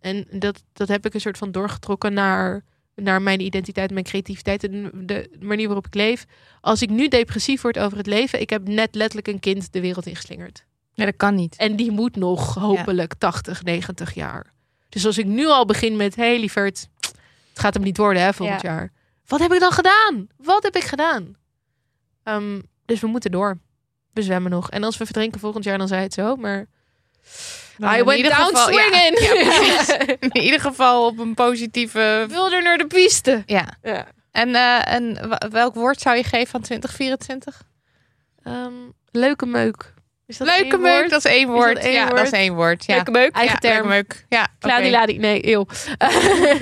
En dat, dat heb ik een soort van doorgetrokken naar, naar mijn identiteit, mijn creativiteit en de manier waarop ik leef. Als ik nu depressief word over het leven, ik heb net letterlijk een kind de wereld ingeslingerd.
Nee, dat kan niet.
En die moet nog hopelijk 80, 90 jaar. Dus als ik nu al begin met, hey lieverd, het gaat hem niet worden hè, volgend jaar. Wat heb ik dan gedaan? Wat heb ik gedaan? Ehm, dus we moeten door. We zwemmen nog. En als we verdrinken volgend jaar, dan zei het zo. Maar
Dan
I
in
went
ieder
down
geval- ja.
swinging.
Ja, precies. in ieder geval op een positieve...
Wilder naar de piste.
Ja.
Ja.
En, eh, en wa- welk woord zou je geven aan 2024?
Ehm, leuke meuk. Is dat
Leuke
één
meuk,
woord?
dat is één woord.
één
ja, dat is
woord?
één woord. Ja.
Leuke meuk.
Ja,
Eigen
Leuke
term.
meuk. Ja, oké.
Kladiladi. Nee, eeuw.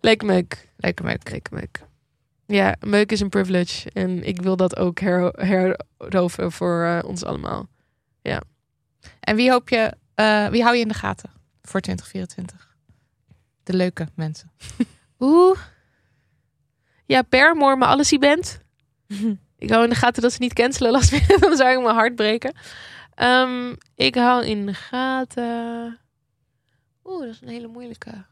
leuke meuk.
Leuke meuk.
Leuke meuk. Ja, meuk is een privilege. En ik wil dat ook hero- heroveren voor eh, ons allemaal.
En wie, hoop je, eh, wie hou je in de gaten voor 2024? De leuke mensen.
Oeh. Ja, Permoor, maar alles die bent. ik hou in de gaten dat ze niet cancelen last minute. Dan zou ik mijn hart breken. Ehm, ik hou in de gaten. Oeh, dat is een hele moeilijke.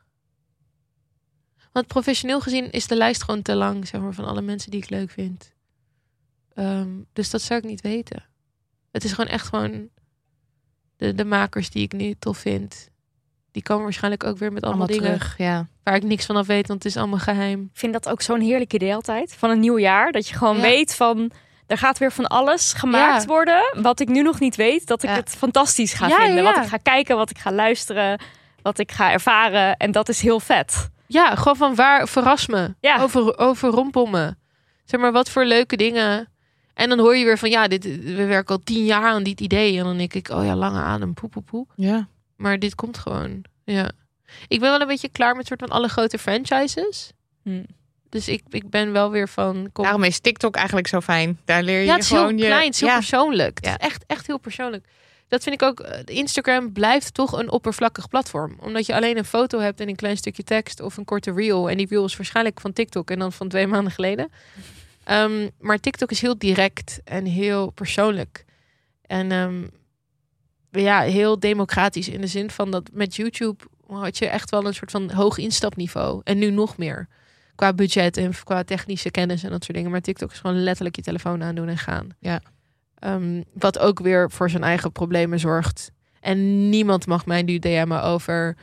Want professioneel gezien is de lijst gewoon te lang, zeg maar, van alle mensen die ik leuk vind. Ehm, dus dat zou ik niet weten. Het is gewoon echt gewoon de, de makers die ik nu tof vind. Die komen waarschijnlijk ook weer met allemaal, dingen
terug. Ja.
waar ik niks vanaf weet, want het is allemaal geheim.
Ik vind dat ook zo'n heerlijk idee altijd. Van een nieuw jaar. Dat je gewoon
Ja.
weet van... Er gaat weer van alles gemaakt
Ja.
worden. Wat ik nu nog niet weet. Dat ik
Ja.
het fantastisch ga
Ja, ja,
vinden.
ja.
Wat ik ga kijken. Wat ik ga luisteren. Wat ik ga ervaren. En dat is heel vet.
Ja, gewoon van waar verras me,
Ja.
over, overrompel me. Zeg maar, wat voor leuke dingen. En dan hoor je weer van, ja, dit, we werken al tien jaar aan dit idee. En dan denk ik, oh ja, lange adem, poe, poe, poe.
ja.
Maar dit komt gewoon, ja. Ik ben wel een beetje klaar met soort van alle grote franchises.
Hm.
Dus ik, ik ben wel weer van... Kom,
Daarom is TikTok eigenlijk zo fijn. Daar leer je
ja, het is heel
gewoon je...
klein, het is heel
ja.
persoonlijk. Het
Ja.
is echt, echt heel persoonlijk. Dat vind ik ook. eh, Instagram blijft toch een oppervlakkig platform. Omdat je alleen een foto hebt en een klein stukje tekst of een korte reel. En die reel is waarschijnlijk van TikTok en dan van twee maanden geleden. Ehm, maar TikTok is heel direct en heel persoonlijk. En ehm, ja, heel democratisch in de zin van dat met YouTube had je echt wel een soort van hoog instapniveau. En nu nog meer. Qua budget en qua technische kennis en dat soort dingen. Maar TikTok is gewoon letterlijk je telefoon aandoen en gaan.
Ja.
Ehm, wat ook weer voor zijn eigen problemen zorgt. En niemand mag mij nu DM'en over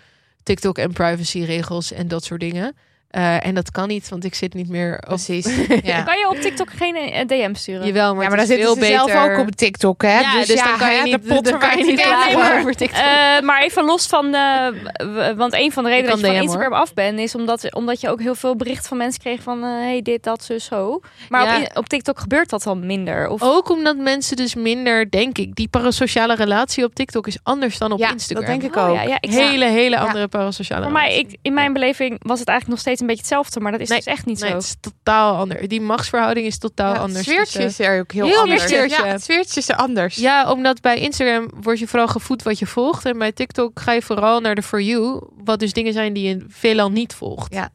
TikTok en privacyregels en dat soort dingen. Eh, en dat kan niet, want ik zit niet meer op...
Precies.
Dan
Ja.
kan je op TikTok geen eh, DM sturen.
Jawel, maar,
Ja, maar
het
daar
is
zitten
veel
ze zelf
beter.
ook op TikTok, hè?
Ja, dus, dan kan je
hè,
niet,
de pot
dan kan je
verwijt
niet
ik helemaal
klagen
over.
over TikTok.
Eh, maar even los van de. w- w- Want een van de redenen dat
kan
je van
DM, hoor.
Instagram af bent, is omdat, omdat je ook heel veel bericht van mensen kreeg van. eh, hey, dit, dat, zo, zo. Maar
Ja. Oh,
op, in- op TikTok gebeurt dat dan minder. Of,
Ook omdat mensen dus minder, denk ik, die parasociale relatie op TikTok is anders dan op
Ja,
Instagram.
dat denk ik
Oh,
ook.
ja, ja, ik
hele, hele andere parasociale
Voor mij,
relatie.
ik, in mijn beleving was het eigenlijk nog steeds een beetje hetzelfde, maar dat is
Nee,
dus echt niet
Nee,
zo.
het is totaal anders. Die machtsverhouding is totaal
Ja,
anders.
Het sfeertje
tussen-
is er ook heel,
Heel
anders.
ander sfeertje.
Ja, het sfeertje is er anders.
Ja, omdat bij Instagram word je vooral gevoed wat je volgt. En bij TikTok ga je vooral naar de For You. Wat dus dingen zijn die je veelal niet volgt.
Ja.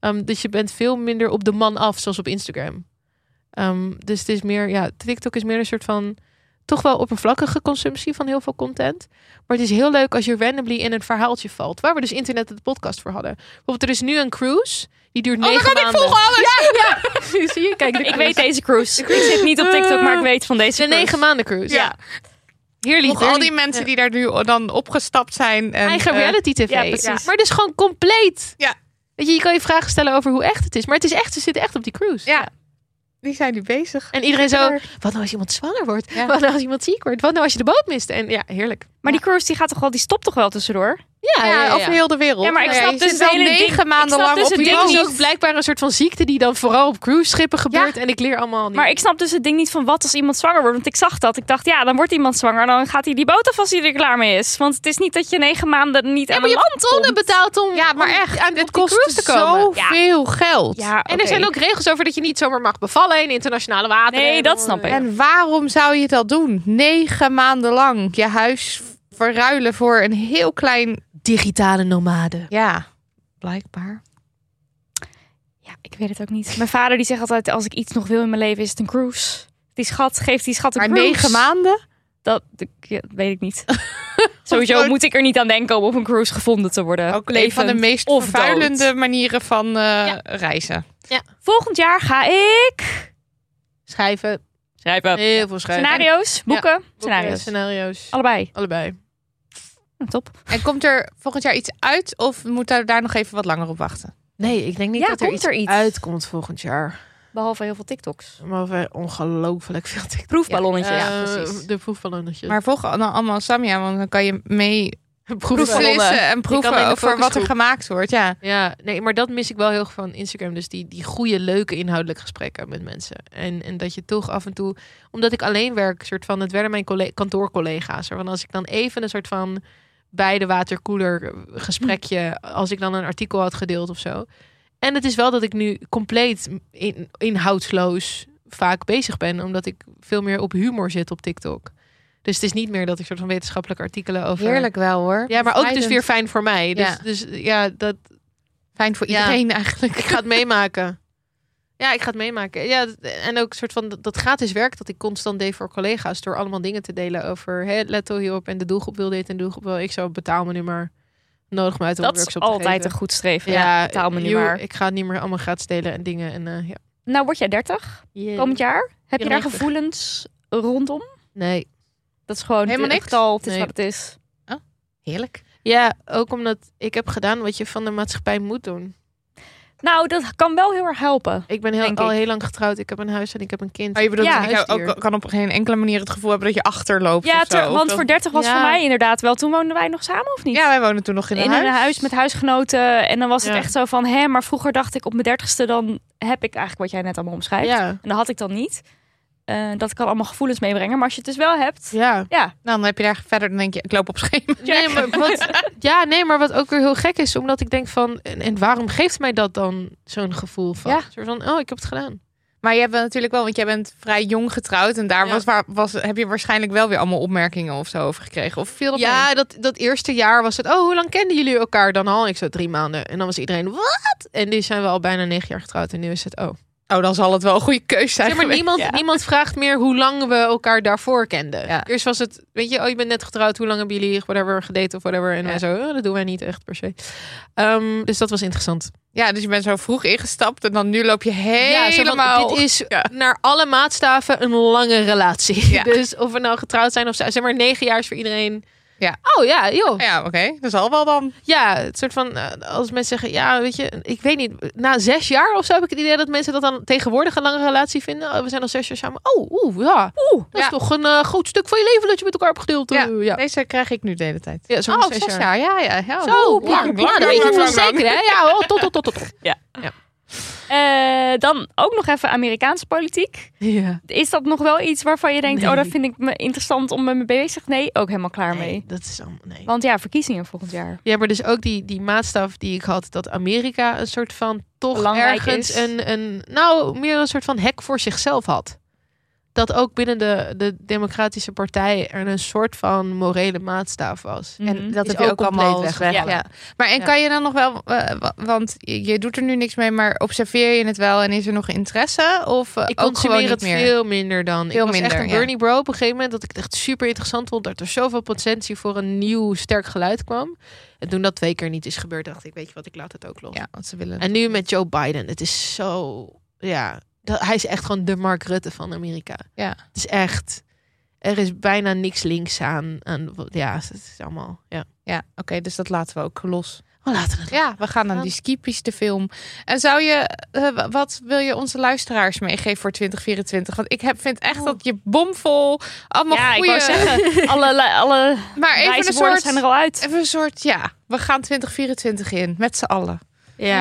Ehm, dus je bent veel minder op de man af, zoals op Instagram. Ehm, dus het is meer, ja, TikTok is meer een soort van toch wel oppervlakkige consumptie van heel veel content. Maar het is heel leuk als je randomly in een verhaaltje valt. Waar we dus internet en de podcast voor hadden. Bijvoorbeeld, er is nu een cruise. Die
Oh
duurt negen maanden.
alles! Ja,
Zie je? Kijk, de
Ik
cruise.
weet deze cruise. Ik zit niet op TikTok, maar ik weet van deze
Het is een
cruise.
negen maanden cruise.
Ja.
Ja. Heerlijk.
Nog al die mensen die daar nu dan opgestapt zijn. En,
eigen
eh,
reality tv.
ja, precies.
Maar het is gewoon compleet.
Ja.
Weet je, je kan je vragen stellen over hoe echt het is. Maar het is echt, ze zitten echt op die cruise.
Ja. Die zijn nu bezig.
En iedereen zo, wat nou als iemand zwanger wordt?
Ja.
Wat nou als iemand ziek wordt? Wat nou als je de boot mist? En ja, heerlijk.
Maar die cruise die gaat toch wel, die stopt toch wel tussendoor?
Ja,
Ja, over heel de wereld.
Ja, maar ik
Nou
snap
je
dus
zit
het
wel
hele ding-
negen
ik
maanden
snap
lang
dus
op
het
die
ding
Dit
boot.
is ook blijkbaar een soort van ziekte die dan vooral op cruise scheppen gebeurt. En ik leer allemaal niet.
Maar ik snap dus het ding niet van wat als iemand zwanger wordt. Want ik zag dat. Ik dacht, ja, dan wordt iemand zwanger. Dan gaat hij die boot af als hij er klaar mee is. Want het is niet dat je negen maanden niet aan een
maar je
land
hebt tonnen
komt.
betaald om,
Ja, maar
om
echt,
aan
dit
op die
kost
cruise te komen.
zoveel geld.
Ja,
En er zijn ook regels over dat je niet zomaar mag bevallen in internationale wateren.
Nee, dat snap ik.
En waarom zou je dat doen? Negen maanden lang je huis verruilen voor een heel klein...
Digitale nomaden.
Ja, blijkbaar.
Ja, ik weet het ook niet. Mijn vader die zegt altijd, als ik iets nog wil in mijn leven, is het een cruise. Die schat, geeft die schat een
Maar
cruise.
negen maanden?
Dat, ja, dat weet ik niet. Sowieso
Gewoon-
moet ik er niet aan denken om op een cruise gevonden te worden.
Ook een van de
Levend
meest
of
vervuilende
dood.
manieren van eh, reizen.
Volgend jaar ga ik...
Schrijven.
Schrijven.
Heel veel schrijven.
Scenario's, boeken,
eh,
Boeken,
scenario's.
scenario's.
Allebei.
Allebei.
Nou, top.
En komt er volgend jaar iets uit of moet daar, daar nog even wat langer op wachten?
Nee, ik denk niet
Ja,
dat er
komt
iets,
er iets?
uitkomt volgend jaar.
Behalve heel veel TikTks.
Maar we hebben ongelooflijk veel TikTok.
Proefballonnetjes.
Ja, eh, precies.
De proefballonnetjes.
Maar volg dan allemaal Samia, want dan kan je mee
Proefballonnen.
beslissen en
in
proeven
de
over wat er
focusgroep.
gemaakt wordt. Ja.
Ja, nee, maar dat mis ik wel heel erg van Instagram. Dus die, die goede, leuke inhoudelijke gesprekken met mensen. En, en dat je toch af en toe, omdat ik alleen werk, soort van, het werden mijn colle- kantoorcollega's. Want als ik dan even een soort van bij de waterkoeler gesprekje, als ik dan een artikel had gedeeld of zo. En het is wel dat ik nu compleet in, inhoudsloos vaak bezig ben, omdat ik veel meer op humor zit op TikTok. Dus het is niet meer dat ik soort van wetenschappelijke artikelen over.
Heerlijk wel hoor.
Ja, maar ook dus
Bevrijdend.
weer fijn voor mij. Dus
Ja.
ja, dus, ja dat,
fijn voor
Ja.
iedereen eigenlijk.
ik ga het meemaken. Ja, ik ga het meemaken. Ja, d- en ook een soort van dat- dat gratis werk dat ik constant deed voor collega's door allemaal dingen te delen over hé, let toch hierop en de doelgroep wil dit en de doelgroep wil ik zo betaal me nu maar nodig me uit om een
Dat is
workshop te
altijd een
geven.
goed streven.
ja,
Ja, betaal me nu
joe,
maar.
Ik ga het niet meer allemaal gratis delen en dingen en eh, ja.
Nou, word jij 30 komend jaar? Heb je daar
94.
gevoelens rondom?
Nee.
Dat is gewoon
Helemaal
het
niks?
getal, het is
Nee.
wat het is.
Heerlijk.
Ja, ook omdat ik heb gedaan wat je van de maatschappij moet doen.
Nou, dat kan wel heel erg helpen.
Ik ben heel,
Denk
al
ik.
heel lang getrouwd. Ik heb een huis en ik heb een kind.
Maar je bedoelt,
Ja,
ik heb- ook,
huisdier.
kan op geen enkele manier het gevoel hebben dat je achterloopt
Ja,
of zo.
ter-
Of
want
dat-
voor 30 was
Ja.
voor mij inderdaad wel. Toen woonden wij nog samen, of niet?
Ja, wij wonen toen nog in een,
in
huis.
een huis met huisgenoten. En dan was het
Ja.
echt zo van, hè, maar vroeger dacht ik op mijn dertigste, dan heb ik eigenlijk wat jij net allemaal omschrijft.
Ja.
En dat had ik dan niet. Eh, dat kan allemaal gevoelens meebrengen. Maar als je het dus wel hebt,
Ja.
ja,
Nou, dan heb je daar verder, dan denk je, ik loop op schema.
Nee, maar wat, ja, nee, maar wat ook weer heel gek is, omdat ik denk van, en, en waarom geeft mij dat dan zo'n gevoel van?
Ja.
Een soort van, oh, ik heb het gedaan.
Maar je hebt wel natuurlijk wel, want jij bent vrij jong getrouwd. En daar
Ja.
was, waar- was, heb je waarschijnlijk wel weer allemaal opmerkingen of zo over gekregen. Of veel dat mee?
Ja, dat, dat eerste jaar was het, oh, hoe lang kenden jullie elkaar dan al? Ik zo drie maanden. En dan was iedereen, wat? En nu zijn we al bijna negen jaar getrouwd en nu is het, oh.
Oh, dan zal het wel een goede keus zijn
Zeg maar,
geweest.
niemand, niemand vraagt meer hoe lang we elkaar daarvoor kenden.
Ja.
Eerst was het, weet je, oh, je bent net getrouwd, hoe lang hebben jullie whatever, gedate of whatever. En
Ja.
wij zo, oh, dat doen wij niet echt per se. Ehm, dus dat was interessant.
Ja, dus je bent zo vroeg ingestapt en dan nu loop je
Ja, zo van,
helemaal...
dit is
Ja.
naar alle maatstaven een lange relatie.
Ja.
Dus of we nou getrouwd zijn of zo, zeg maar negen jaar is voor iedereen.
Ja.
Oh ja, joh.
Ja, oké. Dat zal wel dan.
Ja, het soort van eh, als mensen zeggen, ja, weet je, ik weet niet, na zes jaar of zo heb ik het idee dat mensen dat dan tegenwoordig een lange relatie vinden. Oh, we zijn al zes jaar samen. Oh, oeh, ja.
oeh.
Ja.
Dat is toch een eh, groot stuk van je leven dat je met elkaar hebt gedeeld.
Ja.
eh, ja.
Deze krijg ik nu de hele tijd.
Ja, zo'n
oh,
zes
zes jaar. Ja, ja. ja.
Oh,
Zo,
Oeh,
ja, ja, daar weet je het wel zeker, hè? Ja, oh, tot, tot, tot, tot, tot.
Eh, dan ook nog even Amerikaanse politiek.
Ja.
Is dat nog wel iets waarvan je denkt,
Nee.
oh, dat vind ik me interessant om me mee bezig? Nee, ook helemaal klaar
Nee,
mee.
dat is allemaal, nee.
Want ja, verkiezingen volgend jaar.
Ja, maar dus ook die, die maatstaf die ik had, dat Amerika een soort van toch
Belangrijk
ergens
is.
Een, een, nou, meer een soort van hek voor zichzelf had. Dat ook binnen de, de Democratische Partij er een soort van morele maatstaf was.
Mhm.
En dat
Is
heb je ook
ook compleet
allemaal weg.
weggevallen.
Ja. Maar en
Ja.
kan je dan nog wel, eh, wa- want je je doet er nu niks mee, maar observeer je het wel en is er nog interesse? Of eh,
Ik
ook gewoon
consumeer
niet
het
meer?
veel minder dan.
Veel
ik was echt
minder,
een
ja.
Bernie bro op een gegeven moment. Dat ik het echt super interessant vond. Dat er zoveel potentie voor een nieuw sterk geluid kwam. En toen dat twee keer niet is gebeurd, dacht ik, weet je wat, ik laat het ook los.
Ja, want ze willen.
En nu met Joe Biden, het is zo. Ja, dat, hij is echt gewoon de Mark Rutte van Amerika.
Ja.
Het is echt. Er is bijna niks links aan. aan ja, het is allemaal. Ja.
Ja, oké, dus dat laten we ook los.
We laten het.
Ja, we gaan dan die skipiste film. En zou je, eh, wa- wat wil je onze luisteraars meegeven voor 2024? Want ik heb, vind echt dat je bomvol, allemaal
ja, ik
goede...
wou zeggen, alle, li- alle
maar even
wijze
een
woorden
soort,
zijn er al uit.
even een soort, ja, we gaan 2024 in, met z'n allen.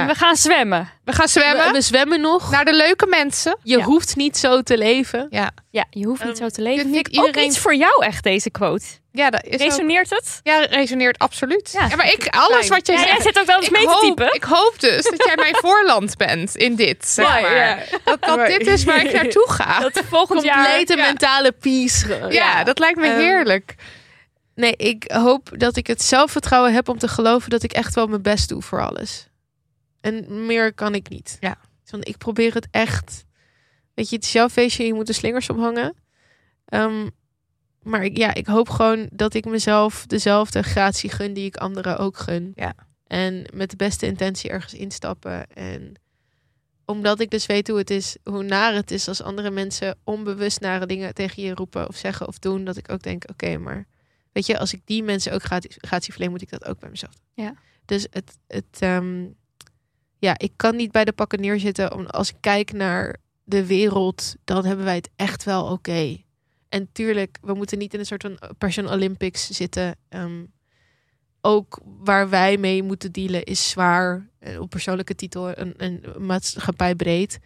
We gaan zwemmen.
We gaan zwemmen
We, Nou, we zwemmen nog.
naar de leuke mensen.
je
Ja.
hoeft niet zo te leven.
Ja,
Ja, je hoeft niet
Ehm,
zo te
je
leven.
kunt niet
Vind ik
iedereen-
Ook iets voor jou echt, deze quote.
ja dat is ook-
Resoneert het?
Ja, resoneert absoluut. Ja,
Ja,
maar ik, alles wat je
Ja, jij
zegt.
zit ook wel eens mee te
hoop,
typen.
ik hoop dus dat jij mijn voorland bent in dit. Zeg
Mooi,
maar.
ja.
Dat, dat dit is waar ik naartoe ga.
Dat volgend jaar...
Complete
ja.
mentale peace.
ja, dat lijkt me
Ehm,
heerlijk.
Nee, ik hoop dat ik het zelfvertrouwen heb om te geloven dat ik echt wel mijn best doe voor alles. En meer kan ik niet.
Ja.
Want ik probeer het echt. Weet je, het is jouw feestje, je moet de slingers ophangen. Ehm, maar ik, ja, ik hoop gewoon dat ik mezelf dezelfde gratie gun die ik anderen ook gun.
Ja.
En met de beste intentie ergens instappen. En omdat ik dus weet hoe het is, hoe naar het is als andere mensen onbewust nare dingen tegen je roepen of zeggen of doen, dat ik ook denk, oké, maar weet je, als ik die mensen ook gratis, gratie verleen, moet ik dat ook bij mezelf doen.
Ja.
Dus het, het ehm, ja, ik kan niet bij de pakken neerzitten. Om, als ik kijk naar de wereld, dan hebben wij het echt wel oké. En tuurlijk, we moeten niet in een soort van Persian Olympics zitten. ehm, ook waar wij mee moeten dealen is zwaar. eh, Op persoonlijke titel en, en maatschappijbreed.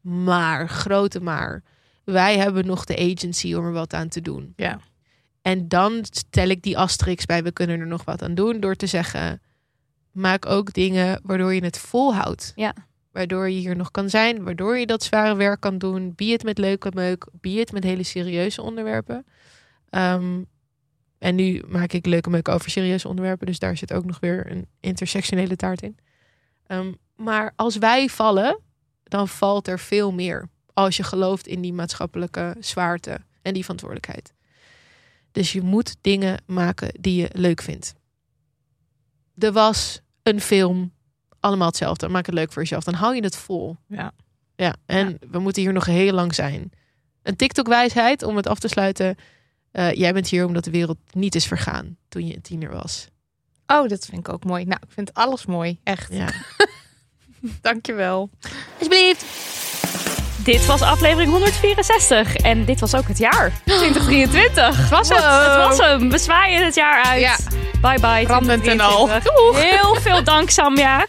Maar, grote maar. Wij hebben nog de agency om er wat aan te doen.
Ja.
En dan stel ik die asterix bij, we kunnen er nog wat aan doen. Door te zeggen, maak ook dingen waardoor je het volhoudt.
Ja.
Waardoor je hier nog kan zijn. Waardoor je dat zware werk kan doen. Be het met leuke meuk. Be het met hele serieuze onderwerpen. Ehm, en nu maak ik leuke meuk over serieuze onderwerpen. Dus daar zit ook nog weer een intersectionele taart in. Ehm, maar als wij vallen, dan valt er veel meer. Als je gelooft in die maatschappelijke zwaarte en die verantwoordelijkheid. Dus je moet dingen maken die je leuk vindt. Er was een film, allemaal hetzelfde. Maak het leuk voor jezelf. Dan hou je het vol.
Ja.
ja en we moeten hier nog heel lang zijn. Een TikTok-wijsheid om het af te sluiten. Eh, jij bent hier omdat de wereld niet is vergaan toen je een tiener was.
Oh, dat vind ik ook mooi. Nou, ik vind alles mooi. Echt.
Ja.
Dankjewel.
Alsjeblieft. Dit was aflevering 164 en dit was ook het jaar 2023. Het was het.
Wow.
Het was hem. We zwaaien het jaar uit.
Ja.
Bye bye.
Randend en
2023. Heel veel dank Samja.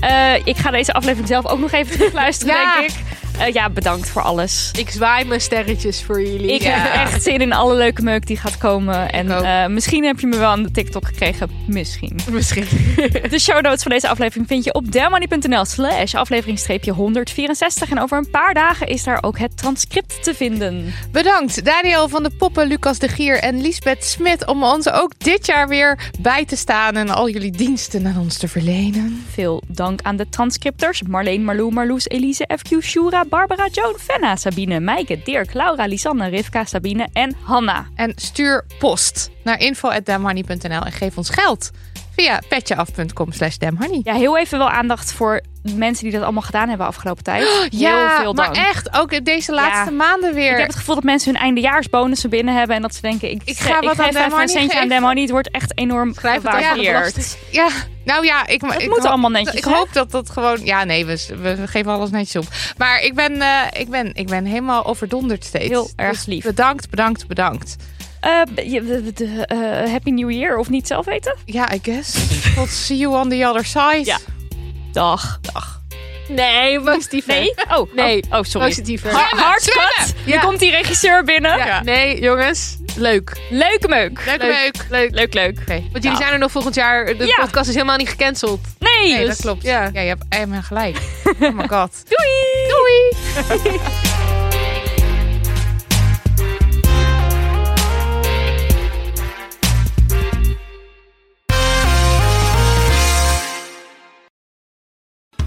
Eh, ik ga deze aflevering zelf ook nog even terugluisteren,
Ja.
denk ik. Eh, ja, bedankt voor alles.
Ik zwaai mijn sterretjes voor jullie.
Ik
Ja.
heb echt zin in alle leuke meuk die gaat komen. En
ook.
eh, misschien heb je me wel aan de TikTok gekregen. Misschien.
Misschien.
De show notes van deze aflevering vind je op delmoney.nl slash aflevering 164. En over een paar dagen is daar ook het transcript te vinden.
Bedankt Daniel van de Poppen, Lucas de Gier en Lisbeth Smit om ons ook dit jaar weer bij te staan en al jullie diensten aan ons te verlenen.
Veel dank aan de transcripters Marleen, Marlou, Marloes, Elise, FQ, Shura, Barbara, Joan, Fenna, Sabine, Maaike, Dirk, Laura, Lisanne, Rivka, Sabine en Hanna.
En stuur post naar info@damhoney.nl en geef ons geld via petjeaf.com slash damhoney.
Ja, heel even wel aandacht voor de mensen die dat allemaal gedaan hebben afgelopen tijd. heel veel dank.
maar echt, ook deze laatste
Ja.
maanden weer.
Ik heb het gevoel dat mensen hun eindejaarsbonussen binnen hebben. En dat ze denken, ik,
Ik ga wat aan
geef even
Demony
een centje aan
geven.
Demony. Het wordt echt enorm
Schrijf het af van de
gewaardeerd.
belasting.
Ja, nou ja, ik, ik
Het moet
hoop-
allemaal netjes.
Ik
hè?
hoop dat dat gewoon. Ja, nee, we, we geven alles netjes op. Maar ik ben, eh, ik ben, ik ben helemaal overdonderd steeds.
Heel erg
Dus
lief.
Bedankt, bedankt, bedankt.
Eh, je- de- de- de- eh, happy New Year of niet zelf weten?
Ja, I guess. We'll see you on the other side.
Ja. Dag. Dag. Nee,
positiever.
Nee? Oh,
Nee,
oh, oh, sorry.
Positief.
Ha- hard cut.
Ja.
Nu komt die regisseur binnen.
Ja. Nee, jongens. Leuk.
Leuke meuk.
Leuk,
Leuk.
leuk.
Leuk,
Leuk.
leuk.
Want jullie zijn er nog volgend jaar. De
Ja.
podcast is helemaal niet gecanceld.
Nee.
Nee, dat
dus-
klopt. Ja,
ja.
je hebt helemaal gelijk. Oh my god.
Doei.
Doei.